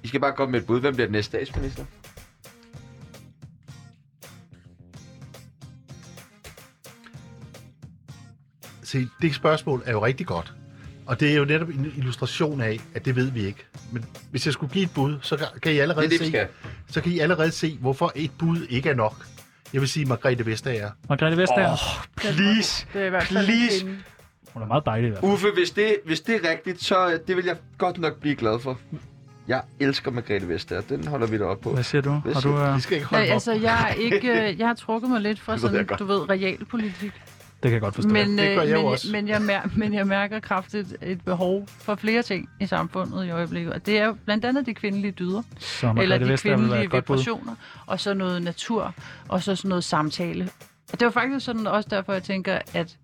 Speaker 3: I skal bare komme med et bud. Hvem bliver den næste statsminister?
Speaker 7: Se, det spørgsmål er jo rigtig godt. Og det er jo netop en illustration af, at det ved vi ikke. Men hvis jeg skulle give et bud, så kan- kan I allerede,
Speaker 3: Det er det, vi
Speaker 7: se,
Speaker 3: skal.
Speaker 7: så kan I allerede se, hvorfor et bud ikke er nok. Jeg vil sige Margrethe Vestager.
Speaker 2: Margrethe Vestager, oh.
Speaker 3: Please!
Speaker 5: Det er i hvert fald en
Speaker 3: Please.
Speaker 5: kvinde.
Speaker 2: hun er meget dejlig i hvert fald.
Speaker 3: Uffe, hvis det, hvis det er rigtigt, så øh, det vil jeg godt nok blive glad for. Jeg elsker Margrethe Vestager. Den holder vi da op på.
Speaker 2: Hvad siger du?
Speaker 3: Hvad
Speaker 2: Har du
Speaker 3: siger
Speaker 2: øh,
Speaker 7: Vi skal ikke
Speaker 5: Nej,
Speaker 7: holde dem op.
Speaker 5: altså, jeg, er ikke, øh, jeg har trukket mig lidt fra
Speaker 3: Det ved jeg
Speaker 5: sådan,
Speaker 3: godt.
Speaker 5: du ved, realpolitik.
Speaker 2: det kan jeg godt forstå.
Speaker 5: Men,
Speaker 7: Det gør
Speaker 5: øh,
Speaker 7: jeg jo
Speaker 5: men,
Speaker 7: også.
Speaker 5: men, jeg mær- men jeg mærker kraftigt et behov for flere ting i samfundet i øjeblikket. Og det er jo blandt andet de kvindelige dyder,
Speaker 2: så
Speaker 5: eller
Speaker 2: Margrethe
Speaker 5: de
Speaker 2: Vestager vil være et
Speaker 5: kvindelige
Speaker 2: godt bud.
Speaker 5: vibrationer, og så noget natur, og så sådan noget samtale. Og det var faktisk sådan også derfor, jeg tænker, at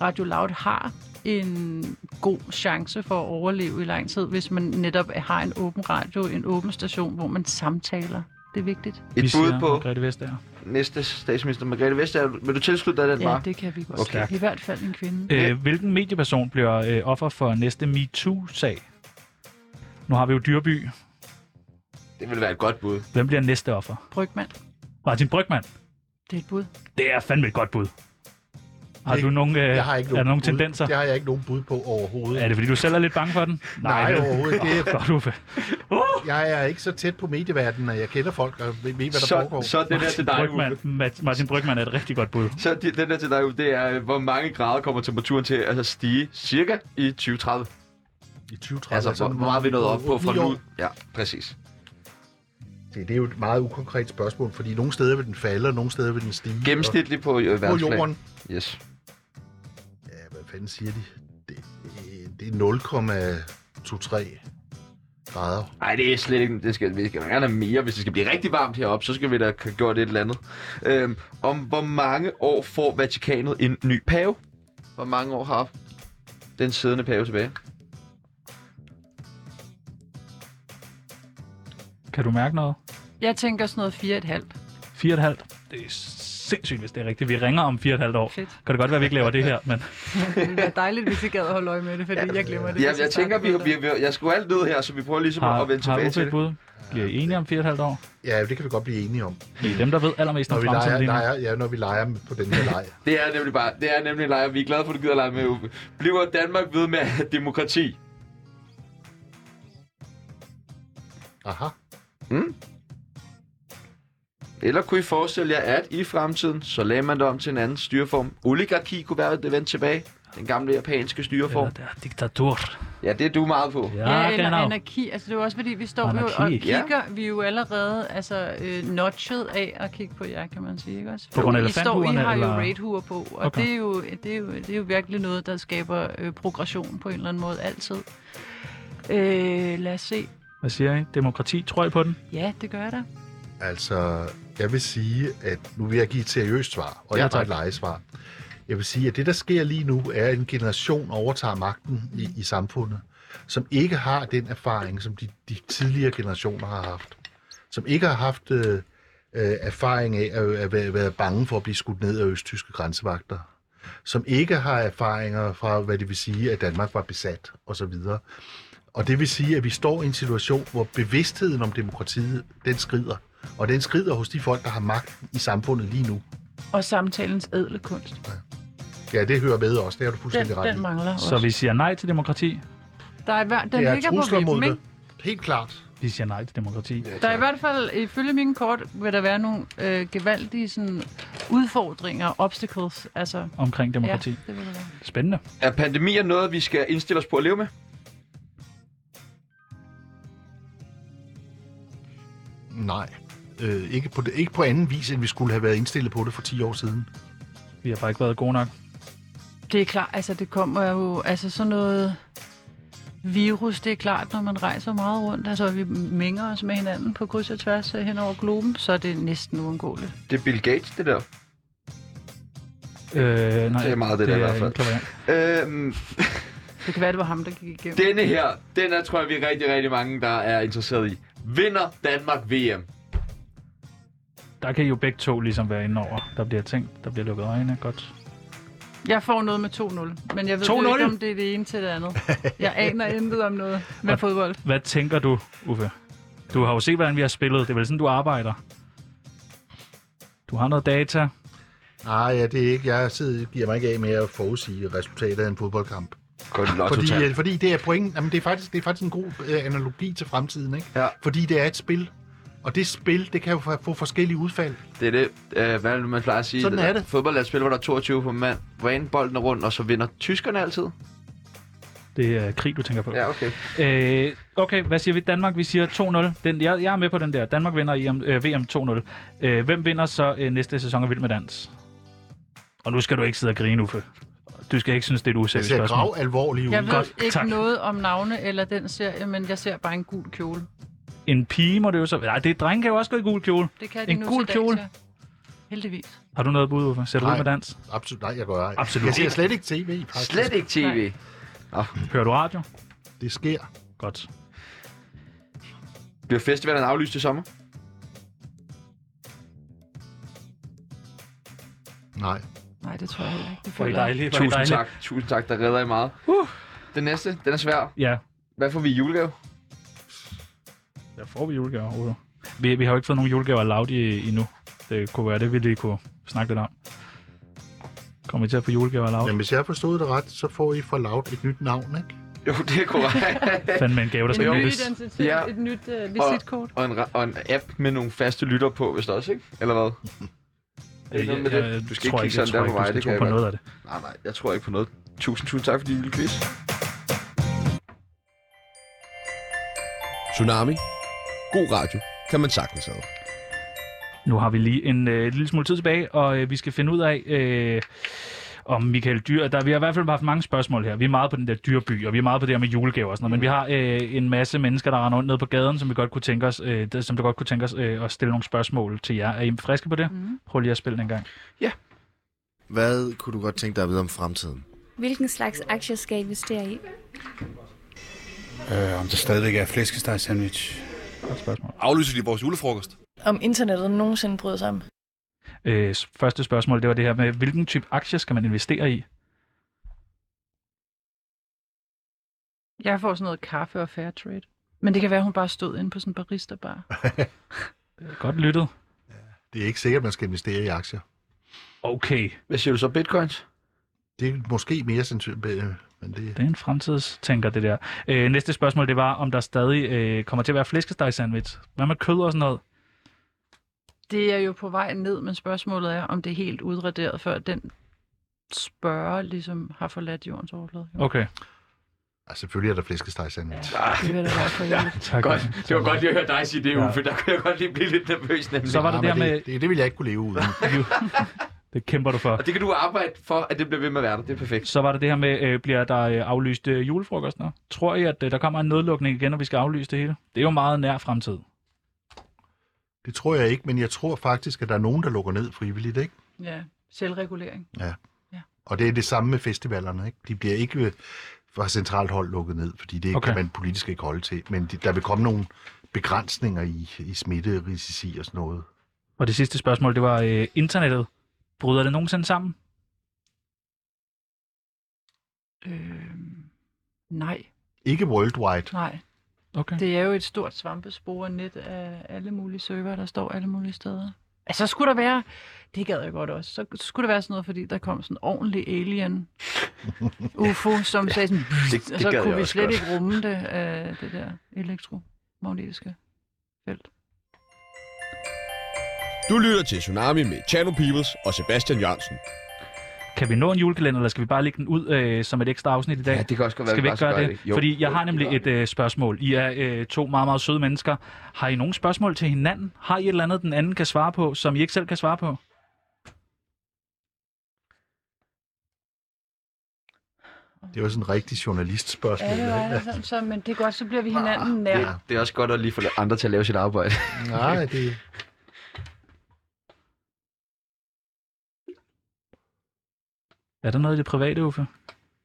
Speaker 5: Radio Loud har en god chance for at overleve i lang tid, hvis man netop har en åben radio, en åben station, hvor man samtaler. Det er vigtigt.
Speaker 3: Et
Speaker 2: Vi
Speaker 3: bud
Speaker 2: siger
Speaker 3: på
Speaker 2: Margrethe Vestager.
Speaker 3: næste statsminister, Margrethe Vestager. Vil du tilslutte dig den,
Speaker 5: Ja,
Speaker 3: Mark?
Speaker 5: det kan vi godt.
Speaker 3: Okay.
Speaker 5: Okay. I hvert fald en kvinde.
Speaker 2: Øh, hvilken medieperson bliver øh, offer for næste MeToo-sag? Nu har vi jo Dyrby.
Speaker 3: det vil være et godt bud.
Speaker 2: Hvem bliver næste offer?
Speaker 5: Brygmand,
Speaker 2: Martin Brygman.
Speaker 5: det er et bud.
Speaker 2: Det er fandme et godt bud. Har
Speaker 7: Det-
Speaker 2: du nogen, øh,
Speaker 7: Jeg har ikke
Speaker 2: er der
Speaker 7: nogen
Speaker 2: nogen
Speaker 7: bud.
Speaker 2: tendenser?
Speaker 7: Det har jeg ikke nogen bud på overhovedet.
Speaker 2: Er det, fordi du selv er lidt bange for den?
Speaker 7: Nej,
Speaker 2: vel?
Speaker 7: overhovedet. Det er-
Speaker 2: Åh, Godt, Uffe.
Speaker 7: Jeg er ikke så tæt på medieverdenen, at jeg kender folk og ved, ved hvad der
Speaker 3: Så,
Speaker 7: foregår.
Speaker 3: så den der til dig,
Speaker 2: Brygman,
Speaker 3: Uffe.
Speaker 2: Ma- Martin Brygman er et rigtig godt bud.
Speaker 3: Så de- den der til dig, Uffe, det er, øh, hvor mange grader kommer temperaturen til at stige cirka i 2030?
Speaker 7: I 2030.
Speaker 3: Altså, hvor, hvor meget er vi nået op på fra
Speaker 7: otte, ni år.
Speaker 3: nu? Ja, præcis.
Speaker 7: Se, det er jo et meget ukonkret spørgsmål, fordi nogle steder vil den falde, og nogle steder vil den stige. og-
Speaker 3: Gennemsnitligt på øh,
Speaker 7: på
Speaker 3: verdensplan.
Speaker 7: jorden.
Speaker 3: Yes.
Speaker 7: Ja, hvad fanden siger de? Det, øh, det er 0,23 grader.
Speaker 3: Nej, det er slet ikke... Det skal, vi skal gerne have mere. Hvis det skal blive rigtig varmt heroppe, så skal vi da have gjort et eller andet. Øhm, om hvor mange år får Vatikanet en ny pave? Hvor mange år har den siddende pave tilbage?
Speaker 2: Kan du mærke noget?
Speaker 5: Jeg tænker sådan noget 4,5.
Speaker 2: 4,5. Det er s- sindssygt, hvis det er rigtigt. Vi ringer om 4,5 år.
Speaker 5: Fedt.
Speaker 2: Kan det godt være, vi ikke laver det her, men
Speaker 5: Det ville være dejligt, hvis I gad at holde øje med det, fordi jeg glemmer det.
Speaker 3: Ja,
Speaker 5: hvis
Speaker 3: jeg
Speaker 5: tager
Speaker 3: tænker,
Speaker 5: det
Speaker 3: vi,
Speaker 5: med
Speaker 3: vi,
Speaker 5: dig.
Speaker 3: vi, jeg skulle alt ned her, så vi prøver ligesom
Speaker 2: har,
Speaker 3: at vende
Speaker 2: har
Speaker 3: tilbage
Speaker 2: Uffe
Speaker 3: til
Speaker 2: et
Speaker 3: det.
Speaker 2: bud? Bliver I enige om 4,5 år?
Speaker 7: Ja, det kan vi godt blive enige om.
Speaker 2: I er dem, der ved allermest
Speaker 7: Når
Speaker 2: om
Speaker 7: vi
Speaker 2: fremtiden
Speaker 7: leger,
Speaker 2: lige nu.
Speaker 7: leger, ja, når vi leger på den her leg.
Speaker 3: Det er nemlig bare, det er nemlig en lejr. Vi er glade for, at du gider at lege med, Uffe. Bliver Danmark ved med at have demokrati?
Speaker 7: Aha.
Speaker 3: Eller kunne I forestille jer, at i fremtiden, så lagde man det om til en anden styreform? Oligarki kunne være det vendt tilbage. Den gamle japanske styreform.
Speaker 2: Eller der er diktatur.
Speaker 3: Ja, det er du meget på.
Speaker 2: Ja,
Speaker 5: Ja,
Speaker 2: ja
Speaker 5: eller
Speaker 2: genau.
Speaker 5: anarki. Altså, det er jo også fordi, vi står jo og
Speaker 2: Anarki.
Speaker 3: Ja.
Speaker 5: kigger. Vi er jo allerede altså, øh, notchet af at kigge på jer, kan man sige. Ikke også?
Speaker 2: På grund af
Speaker 5: I, står, I
Speaker 2: elefanthuerne,
Speaker 5: har
Speaker 2: eller?
Speaker 5: jo raidhuer på, og
Speaker 2: Okay.
Speaker 5: okay. det, er jo, det, er jo, det er jo virkelig noget, der skaber øh, progression på en eller anden måde altid. Øh, lad os se.
Speaker 2: Hvad siger I? Demokrati, tror I på den?
Speaker 5: Ja, det gør jeg da.
Speaker 7: Altså, jeg vil sige, at nu vil jeg give et seriøst svar, og
Speaker 2: Ja,
Speaker 7: ja, ikke
Speaker 2: tak.
Speaker 7: et lejesvar. Jeg vil sige, at det, der sker lige nu, er, at en generation overtager magten i, i samfundet, som ikke har den erfaring, som de, de tidligere generationer har haft. Som ikke har haft øh, øh, erfaring af at, at være, være bange for at blive skudt ned af østtyske grænsevagter. Som ikke har erfaringer fra, hvad det vil sige, at Danmark var besat osv. Og det vil sige, at vi står i en situation, hvor bevidstheden om demokratiet, den skrider. Og den skrider hos de folk, der har magten i samfundet lige nu.
Speaker 5: Og samtalens ædle kunst.
Speaker 7: Ja, det hører med også. Det har du
Speaker 5: Den,
Speaker 7: fuldstændig ret i.
Speaker 5: den mangler også.
Speaker 2: Så vi siger nej til demokrati.
Speaker 5: Der er, i hver- den
Speaker 7: Det er
Speaker 5: ligger på
Speaker 7: trusler
Speaker 5: vippen,
Speaker 7: mod
Speaker 5: ikke?
Speaker 7: det. Helt klart.
Speaker 2: Vi siger nej til demokrati.
Speaker 5: Der er i hvert fald, ifølge mine kort, vil der være nogle øh, gevaldige sådan, udfordringer, obstacles. Altså,
Speaker 2: Omkring
Speaker 5: ja,
Speaker 2: demokrati.
Speaker 5: det vil der være.
Speaker 2: Spændende.
Speaker 3: Er pandemier noget, vi skal indstille os på at leve med?
Speaker 7: Nej. Øh, ikke, på det, ikke på anden vis, end vi skulle have været indstillet på det for 10 år siden.
Speaker 2: Vi har bare ikke været gode nok.
Speaker 5: Det er klart, altså det kommer jo, altså sådan noget virus, det er klart, når man rejser meget rundt, altså vi mænger os med hinanden på kryds og tværs øh, hen over globen, så er det næsten uundgåeligt.
Speaker 3: Det er Bill Gates, det der.
Speaker 2: Øh, nej,
Speaker 3: Det er meget det der i hvert fald.
Speaker 2: en klaverjant.
Speaker 3: Øhm,
Speaker 5: Det kan være, det var ham, der gik igennem. Det...
Speaker 3: denne her, den er, tror jeg, vi er rigtig, rigtig mange, der er interesseret i. Vinder Danmark VM?
Speaker 2: Der kan I jo begge to ligesom være inde over. Der bliver tænkt, der bliver lukket øjne. Godt.
Speaker 5: Jeg får noget med 2-0, men jeg ved
Speaker 2: 2-0?
Speaker 5: jo ikke, om det er det ene til det andet. Jeg aner intet om noget med
Speaker 2: Og-
Speaker 5: fodbold.
Speaker 2: Hvad tænker du, Uffe? Du har jo set, hvordan vi har spillet. Det er vel sådan, du arbejder. Du har noget data.
Speaker 7: Nej, ja, det er ikke. Jeg sidder, giver mig ikke af med at forudsige resultatet af en fodboldkamp.
Speaker 3: Godt nok,
Speaker 7: Fordi,
Speaker 3: totalt.
Speaker 7: øh, fordi det er point. Jamen, det, er faktisk, det er faktisk en god øh, analogi til fremtiden, ikke?
Speaker 3: Ja.
Speaker 7: Fordi det er et spil. Og det spil, det kan jo få- få forskellige udfald.
Speaker 3: Det er det, øh, hvad er det, man plejer at sige.
Speaker 7: Sådan
Speaker 3: der
Speaker 7: er det.
Speaker 3: Fodbold er et spil, hvor der er 22 på mand. Vane bolden er rundt, og så vinder tyskerne altid.
Speaker 2: Det er krig, du tænker på.
Speaker 3: okay.
Speaker 2: Øh, okay, hvad siger vi? Danmark, vi siger 2-0. Den, jeg, jeg er med på den der. Danmark vinder EM, øh, VM 2-0. Øh, hvem vinder så øh, næste sæson af Vild med Dans? Og nu skal du ikke sidde og grine, Uffe. Du skal ikke synes, det er et
Speaker 7: Det
Speaker 2: useriøst
Speaker 7: ser
Speaker 2: spørgsmål.
Speaker 7: grav alvorligt ud.
Speaker 5: Jeg ved
Speaker 2: Godt,
Speaker 5: ikke
Speaker 2: tak.
Speaker 5: noget om navne eller den serie, men jeg ser bare en gul kjole.
Speaker 2: En pige må det jo så... Nej, det er drenge kan jo også gå i gul kjole.
Speaker 5: Det kan de
Speaker 2: En
Speaker 5: nu
Speaker 2: gul
Speaker 5: til dags,
Speaker 2: kjole?
Speaker 5: ja. Heldigvis.
Speaker 2: Har du noget bud, Uffe? Ser du ud
Speaker 7: Nej.
Speaker 2: med dans?
Speaker 7: Absolut, nej, jeg gør ej.
Speaker 2: Absolut
Speaker 7: Jeg ser
Speaker 2: ikke.
Speaker 7: slet ikke tv, faktisk.
Speaker 3: Slet ikke tv.
Speaker 2: Hører du radio?
Speaker 7: Det sker.
Speaker 2: Godt.
Speaker 3: Bliver festivalen aflyst i sommer?
Speaker 7: Nej.
Speaker 5: Nej, det tror jeg heller ikke. Det
Speaker 2: Hvor er I
Speaker 5: føler jeg.
Speaker 2: dejlige. Hvor er I
Speaker 3: Tusind
Speaker 2: dejlige.
Speaker 3: tak. Tusind tak, der redder I meget. Uh. Den næste, den er svær.
Speaker 2: Ja,
Speaker 3: Hvad får vi i julegave?
Speaker 2: der får vi julegaver. Uffe. Vi, vi har jo ikke fået nogen julegaver af Laudi endnu. Det kunne være det, vi lige kunne snakke lidt om. Kommer vi til at få julegaver af Laudi?
Speaker 7: Men hvis jeg forstod det ret, så får I fra Loud et nyt navn, ikke?
Speaker 3: Jo, det er korrekt.
Speaker 2: Fandme en gave, der skal
Speaker 5: En ny
Speaker 2: lyttes.
Speaker 5: identitet,
Speaker 3: Ja.
Speaker 5: et nyt øh, visitkort.
Speaker 3: og, en, ra- og en app med nogle faste lytter på, hvis der også, ikke? Eller hvad? Er det noget med det? Du skal ikke
Speaker 2: tror
Speaker 3: kigge sådan
Speaker 2: jeg
Speaker 3: der på
Speaker 2: tror
Speaker 3: mig,
Speaker 2: ikke, du
Speaker 3: det
Speaker 2: skal tro
Speaker 3: kan
Speaker 2: på
Speaker 3: jeg
Speaker 2: noget af det.
Speaker 3: Nej, nej, jeg tror ikke på noget. Tusind, tusind tak for din lille quiz.
Speaker 1: Tsunami. God radio kan man sagtens have.
Speaker 2: Nu har vi lige en øh, lille smule tid tilbage, og øh, vi skal finde ud af, øh, om Michael Dyr... Der, vi har i hvert fald haft mange spørgsmål her. Vi er meget på den der dyrby, og vi er meget på det her med julegaver og sådan noget, men vi har
Speaker 3: Mm.
Speaker 2: øh, en masse mennesker, der render rundt nede på gaden, som vi godt kunne tænke os, øh, der- som der godt kunne tænke os øh, at stille nogle spørgsmål til jer. Er I friske på det? Mm. Prøv lige at spille den en gang.
Speaker 8: Hvad kunne du godt tænke dig at vide om fremtiden?
Speaker 9: Hvilken slags aktier skal jeg investere i?
Speaker 10: Øh, om der stadigvæk er flæskesteg sandwich.
Speaker 2: Godt spørgsmål.
Speaker 11: Aflyser de vores julefrokost?
Speaker 12: Om internettet nogensinde bryder sammen.
Speaker 2: Øh, s- første spørgsmål, det var det her med, hvilken type aktier skal man investere i?
Speaker 5: Jeg får sådan noget kaffe og fair trade. Men det kan være, hun bare stod inde på sådan en barista bar.
Speaker 2: Godt lyttet.
Speaker 7: Det er ikke sikkert, man skal investere i aktier.
Speaker 2: Okay,
Speaker 3: Hvad siger du så? Bitcoins?
Speaker 7: Det er måske mere sandsynligt, øh, men det...
Speaker 2: det er en fremtidstænker, det der. Øh, næste spørgsmål, det var, om der stadig øh, kommer til at være flæskesteg sandwich. Hvad med kød og sådan noget?
Speaker 5: Det er jo på vej ned, men spørgsmålet er, om det er helt udraderet, før den spørger ligesom har forladt jordens overflade. Jo,
Speaker 2: Okay,
Speaker 7: Altså, selvfølgelig er der flæskesteg sandwich.
Speaker 5: Det vil da være for
Speaker 3: Ja,
Speaker 5: ja.
Speaker 2: tak.
Speaker 3: godt. Det var godt lige at høre dig sige det, Uffe. Der kunne jeg godt lige blive lidt nervøs nemlig.
Speaker 2: Så var det
Speaker 7: men
Speaker 2: der med-
Speaker 7: Det, det, det vil jeg ikke kunne leve uden.
Speaker 2: Det kæmper du for.
Speaker 3: Og det kan du arbejde for, at det bliver ved med at være der. Det er perfekt.
Speaker 2: Så var der det her med, øh, bliver der øh, aflyst øh, julefrokoster? Tror I, at øh, der kommer en nedlukning igen, og vi skal aflyse det hele? Det er jo meget nær fremtid.
Speaker 7: Det tror jeg ikke, men jeg tror faktisk, at der er nogen, der lukker ned frivilligt, ikke?
Speaker 5: ja, selvregulering.
Speaker 7: Og det er det samme med festivalerne, ikke? De bliver ikke øh, fra centralt hold lukket ned, fordi det
Speaker 2: Okay.
Speaker 7: okay. kan man politisk ikke holde til. Men de, der vil komme nogle begrænsninger i, i smitterisici og sådan noget.
Speaker 2: Og det sidste spørgsmål, det var øh, internettet. Bryder det nogensinde sammen?
Speaker 5: Øh, nej,
Speaker 7: Ikke worldwide.
Speaker 5: nej.
Speaker 3: Mm.
Speaker 2: Okay.
Speaker 5: Det er jo et stort svampespore net af alle mulige server, der står alle mulige steder. Altså, så skulle der være, det gad jeg godt også, så skulle der være sådan noget, fordi der kom sådan en ordentlig alien UFO, som sagde sådan,
Speaker 3: Det,
Speaker 5: og
Speaker 3: det
Speaker 5: så
Speaker 3: gad jeg
Speaker 5: kunne vi
Speaker 3: også
Speaker 5: slet
Speaker 3: godt.
Speaker 5: ikke rumme det, øh, det der elektromagnetiske felt.
Speaker 1: Du lytter til Tsunami med Chano Peoples og Sebastian Jørgensen.
Speaker 2: Kan vi nå en julekalender, eller skal vi bare lægge den ud øh, som et ekstra afsnit i dag?
Speaker 3: Ja, det kan også godt være,
Speaker 2: Skal vi ikke
Speaker 3: bare
Speaker 2: gøre det?
Speaker 3: Jo,
Speaker 2: Fordi jeg
Speaker 3: jo,
Speaker 2: har
Speaker 3: det
Speaker 2: nemlig
Speaker 3: gør
Speaker 2: et øh, spørgsmål. I er øh, to meget, meget søde mennesker. Har I nogle spørgsmål til hinanden? Har I et eller andet, den anden kan svare på, som I ikke selv kan svare på?
Speaker 7: Det var sådan en rigtig journalistspørgsmål.
Speaker 5: Ja, det var
Speaker 7: ikke?
Speaker 5: det sådan, så, men det er godt, så bliver vi hinanden nær.
Speaker 3: Det, det er også godt at lige få lidt andre til at lave sit arbejde.
Speaker 7: Nej, det...
Speaker 2: Er der noget i det private, Uffe?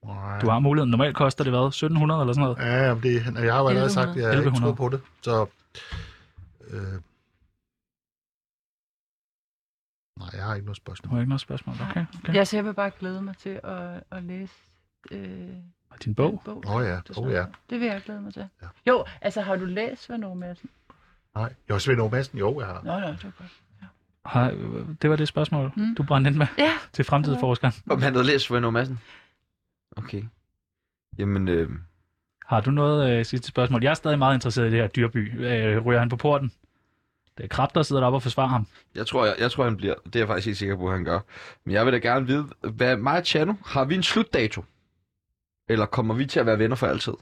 Speaker 7: Nej.
Speaker 2: Du har muligheden. Normalt koster det hvad? 1700 eller sådan noget?
Speaker 7: Ja, men det, jeg har jo allerede sagt, at jeg ikke
Speaker 2: 1100.
Speaker 7: tror på det. Så, øh, nej, jeg har ikke noget
Speaker 2: Du
Speaker 7: spørgsmål.
Speaker 2: har ikke noget spørgsmål. Okay, okay.
Speaker 5: Ja, så jeg vil bare glæde mig til at, at læse øh,
Speaker 2: Og din bog?
Speaker 5: den bog.
Speaker 7: Åh oh, ja,
Speaker 5: Det,
Speaker 7: åh oh, ja.
Speaker 5: det vil jeg glæde mig til.
Speaker 7: Ja.
Speaker 5: Jo, altså har du læst Svend Madsen?
Speaker 7: Nej, jo, Svend Aage Madsen, jo, jeg har.
Speaker 5: Nå, nå, det var godt.
Speaker 2: Har, øh, det var det spørgsmål, mm.
Speaker 5: Mm.
Speaker 2: du brændte ind med
Speaker 5: Ja,
Speaker 2: til fremtidsforskeren.
Speaker 3: Om han havde læst Svend Aage Madsen. Okay. Jamen, øh,
Speaker 2: Har du noget øh, sidste spørgsmål? Jeg er stadig meget interesseret i det her dyrby. Øh, ryger han på porten? Det er krab, der sidder deroppe og forsvarer ham.
Speaker 3: jeg tror, jeg, jeg tror, han bliver. Det er jeg faktisk helt sikker på, at han gør. Men jeg vil da gerne vide, hvad mig og Chano, har vi en slutdato? Eller kommer vi til at være venner for altid?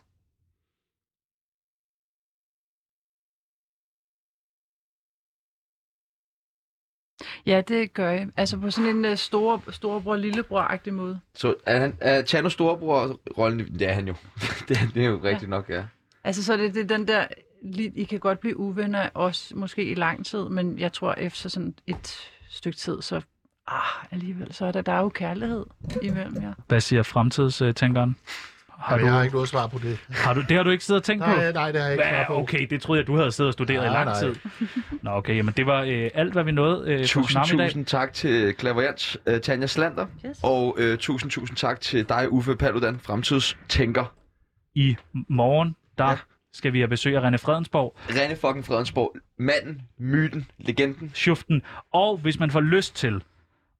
Speaker 5: ja det gør jeg. Altså på sådan en uh, store, storebror-lillebror-agtig måde.
Speaker 3: Så er, han, er Chano storebror rollen? i- Det er han jo. det, er- det er jo rigtigt nok, ja.
Speaker 5: Altså så er det, det er den der, li- I kan godt blive uvenner, også måske i lang tid, men jeg tror efter sådan et stykke tid, så ah, alligevel, så er der, der er jo kærlighed imellem jer.
Speaker 2: Hvad siger fremtidstænkeren? Har,
Speaker 7: Jamen, jeg har
Speaker 2: du,
Speaker 7: ikke noget svar på det.
Speaker 2: har du, det har du ikke siddet og tænkt på?
Speaker 7: Nej, nej, det har jeg ikke svar
Speaker 2: Ja,
Speaker 7: på.
Speaker 2: okay, det troede jeg, du havde siddet og studeret
Speaker 7: Nej,
Speaker 2: i lang
Speaker 7: nej.
Speaker 2: tid. Nå, okay, jamen det var øh, alt, hvad vi nåede øh, på
Speaker 3: Tusind,
Speaker 2: Tsunami i dag.
Speaker 3: tusind tak til klaverjant uh, Tanja Slander.
Speaker 5: Yes.
Speaker 3: Og øh, tusind, tusind tak til dig, Uffe Paludan, fremtidstænker.
Speaker 2: I morgen, der
Speaker 3: Ja.
Speaker 2: ja. skal vi have besøg af René Fredensborg,
Speaker 3: Rene fucking Fredensborg. Manden, myten, legenden.
Speaker 2: Schuften. Og hvis man får lyst til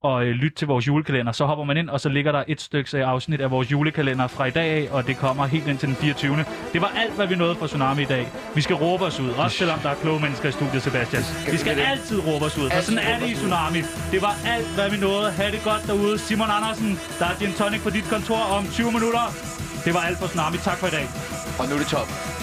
Speaker 2: at øh, lytte til vores julekalender, så hopper man ind, og så ligger der et stykke øh, afsnit af vores julekalender fra i dag af, og det kommer helt ind til den 24. Det var alt, hvad vi nåede fra Tsunami i dag. Vi skal råbe os ud, også selvom der er kloge mennesker i studiet, Sebastian. Vi skal altid råbe os ud, for sådan er det i Tsunami. Det var alt, hvad vi nåede. Ha' det godt derude. Simon Andersen, der er din tonic på dit kontor om 20 minutter. Det var alt for Tsunami. Tak for i dag.
Speaker 3: Og nu er det top.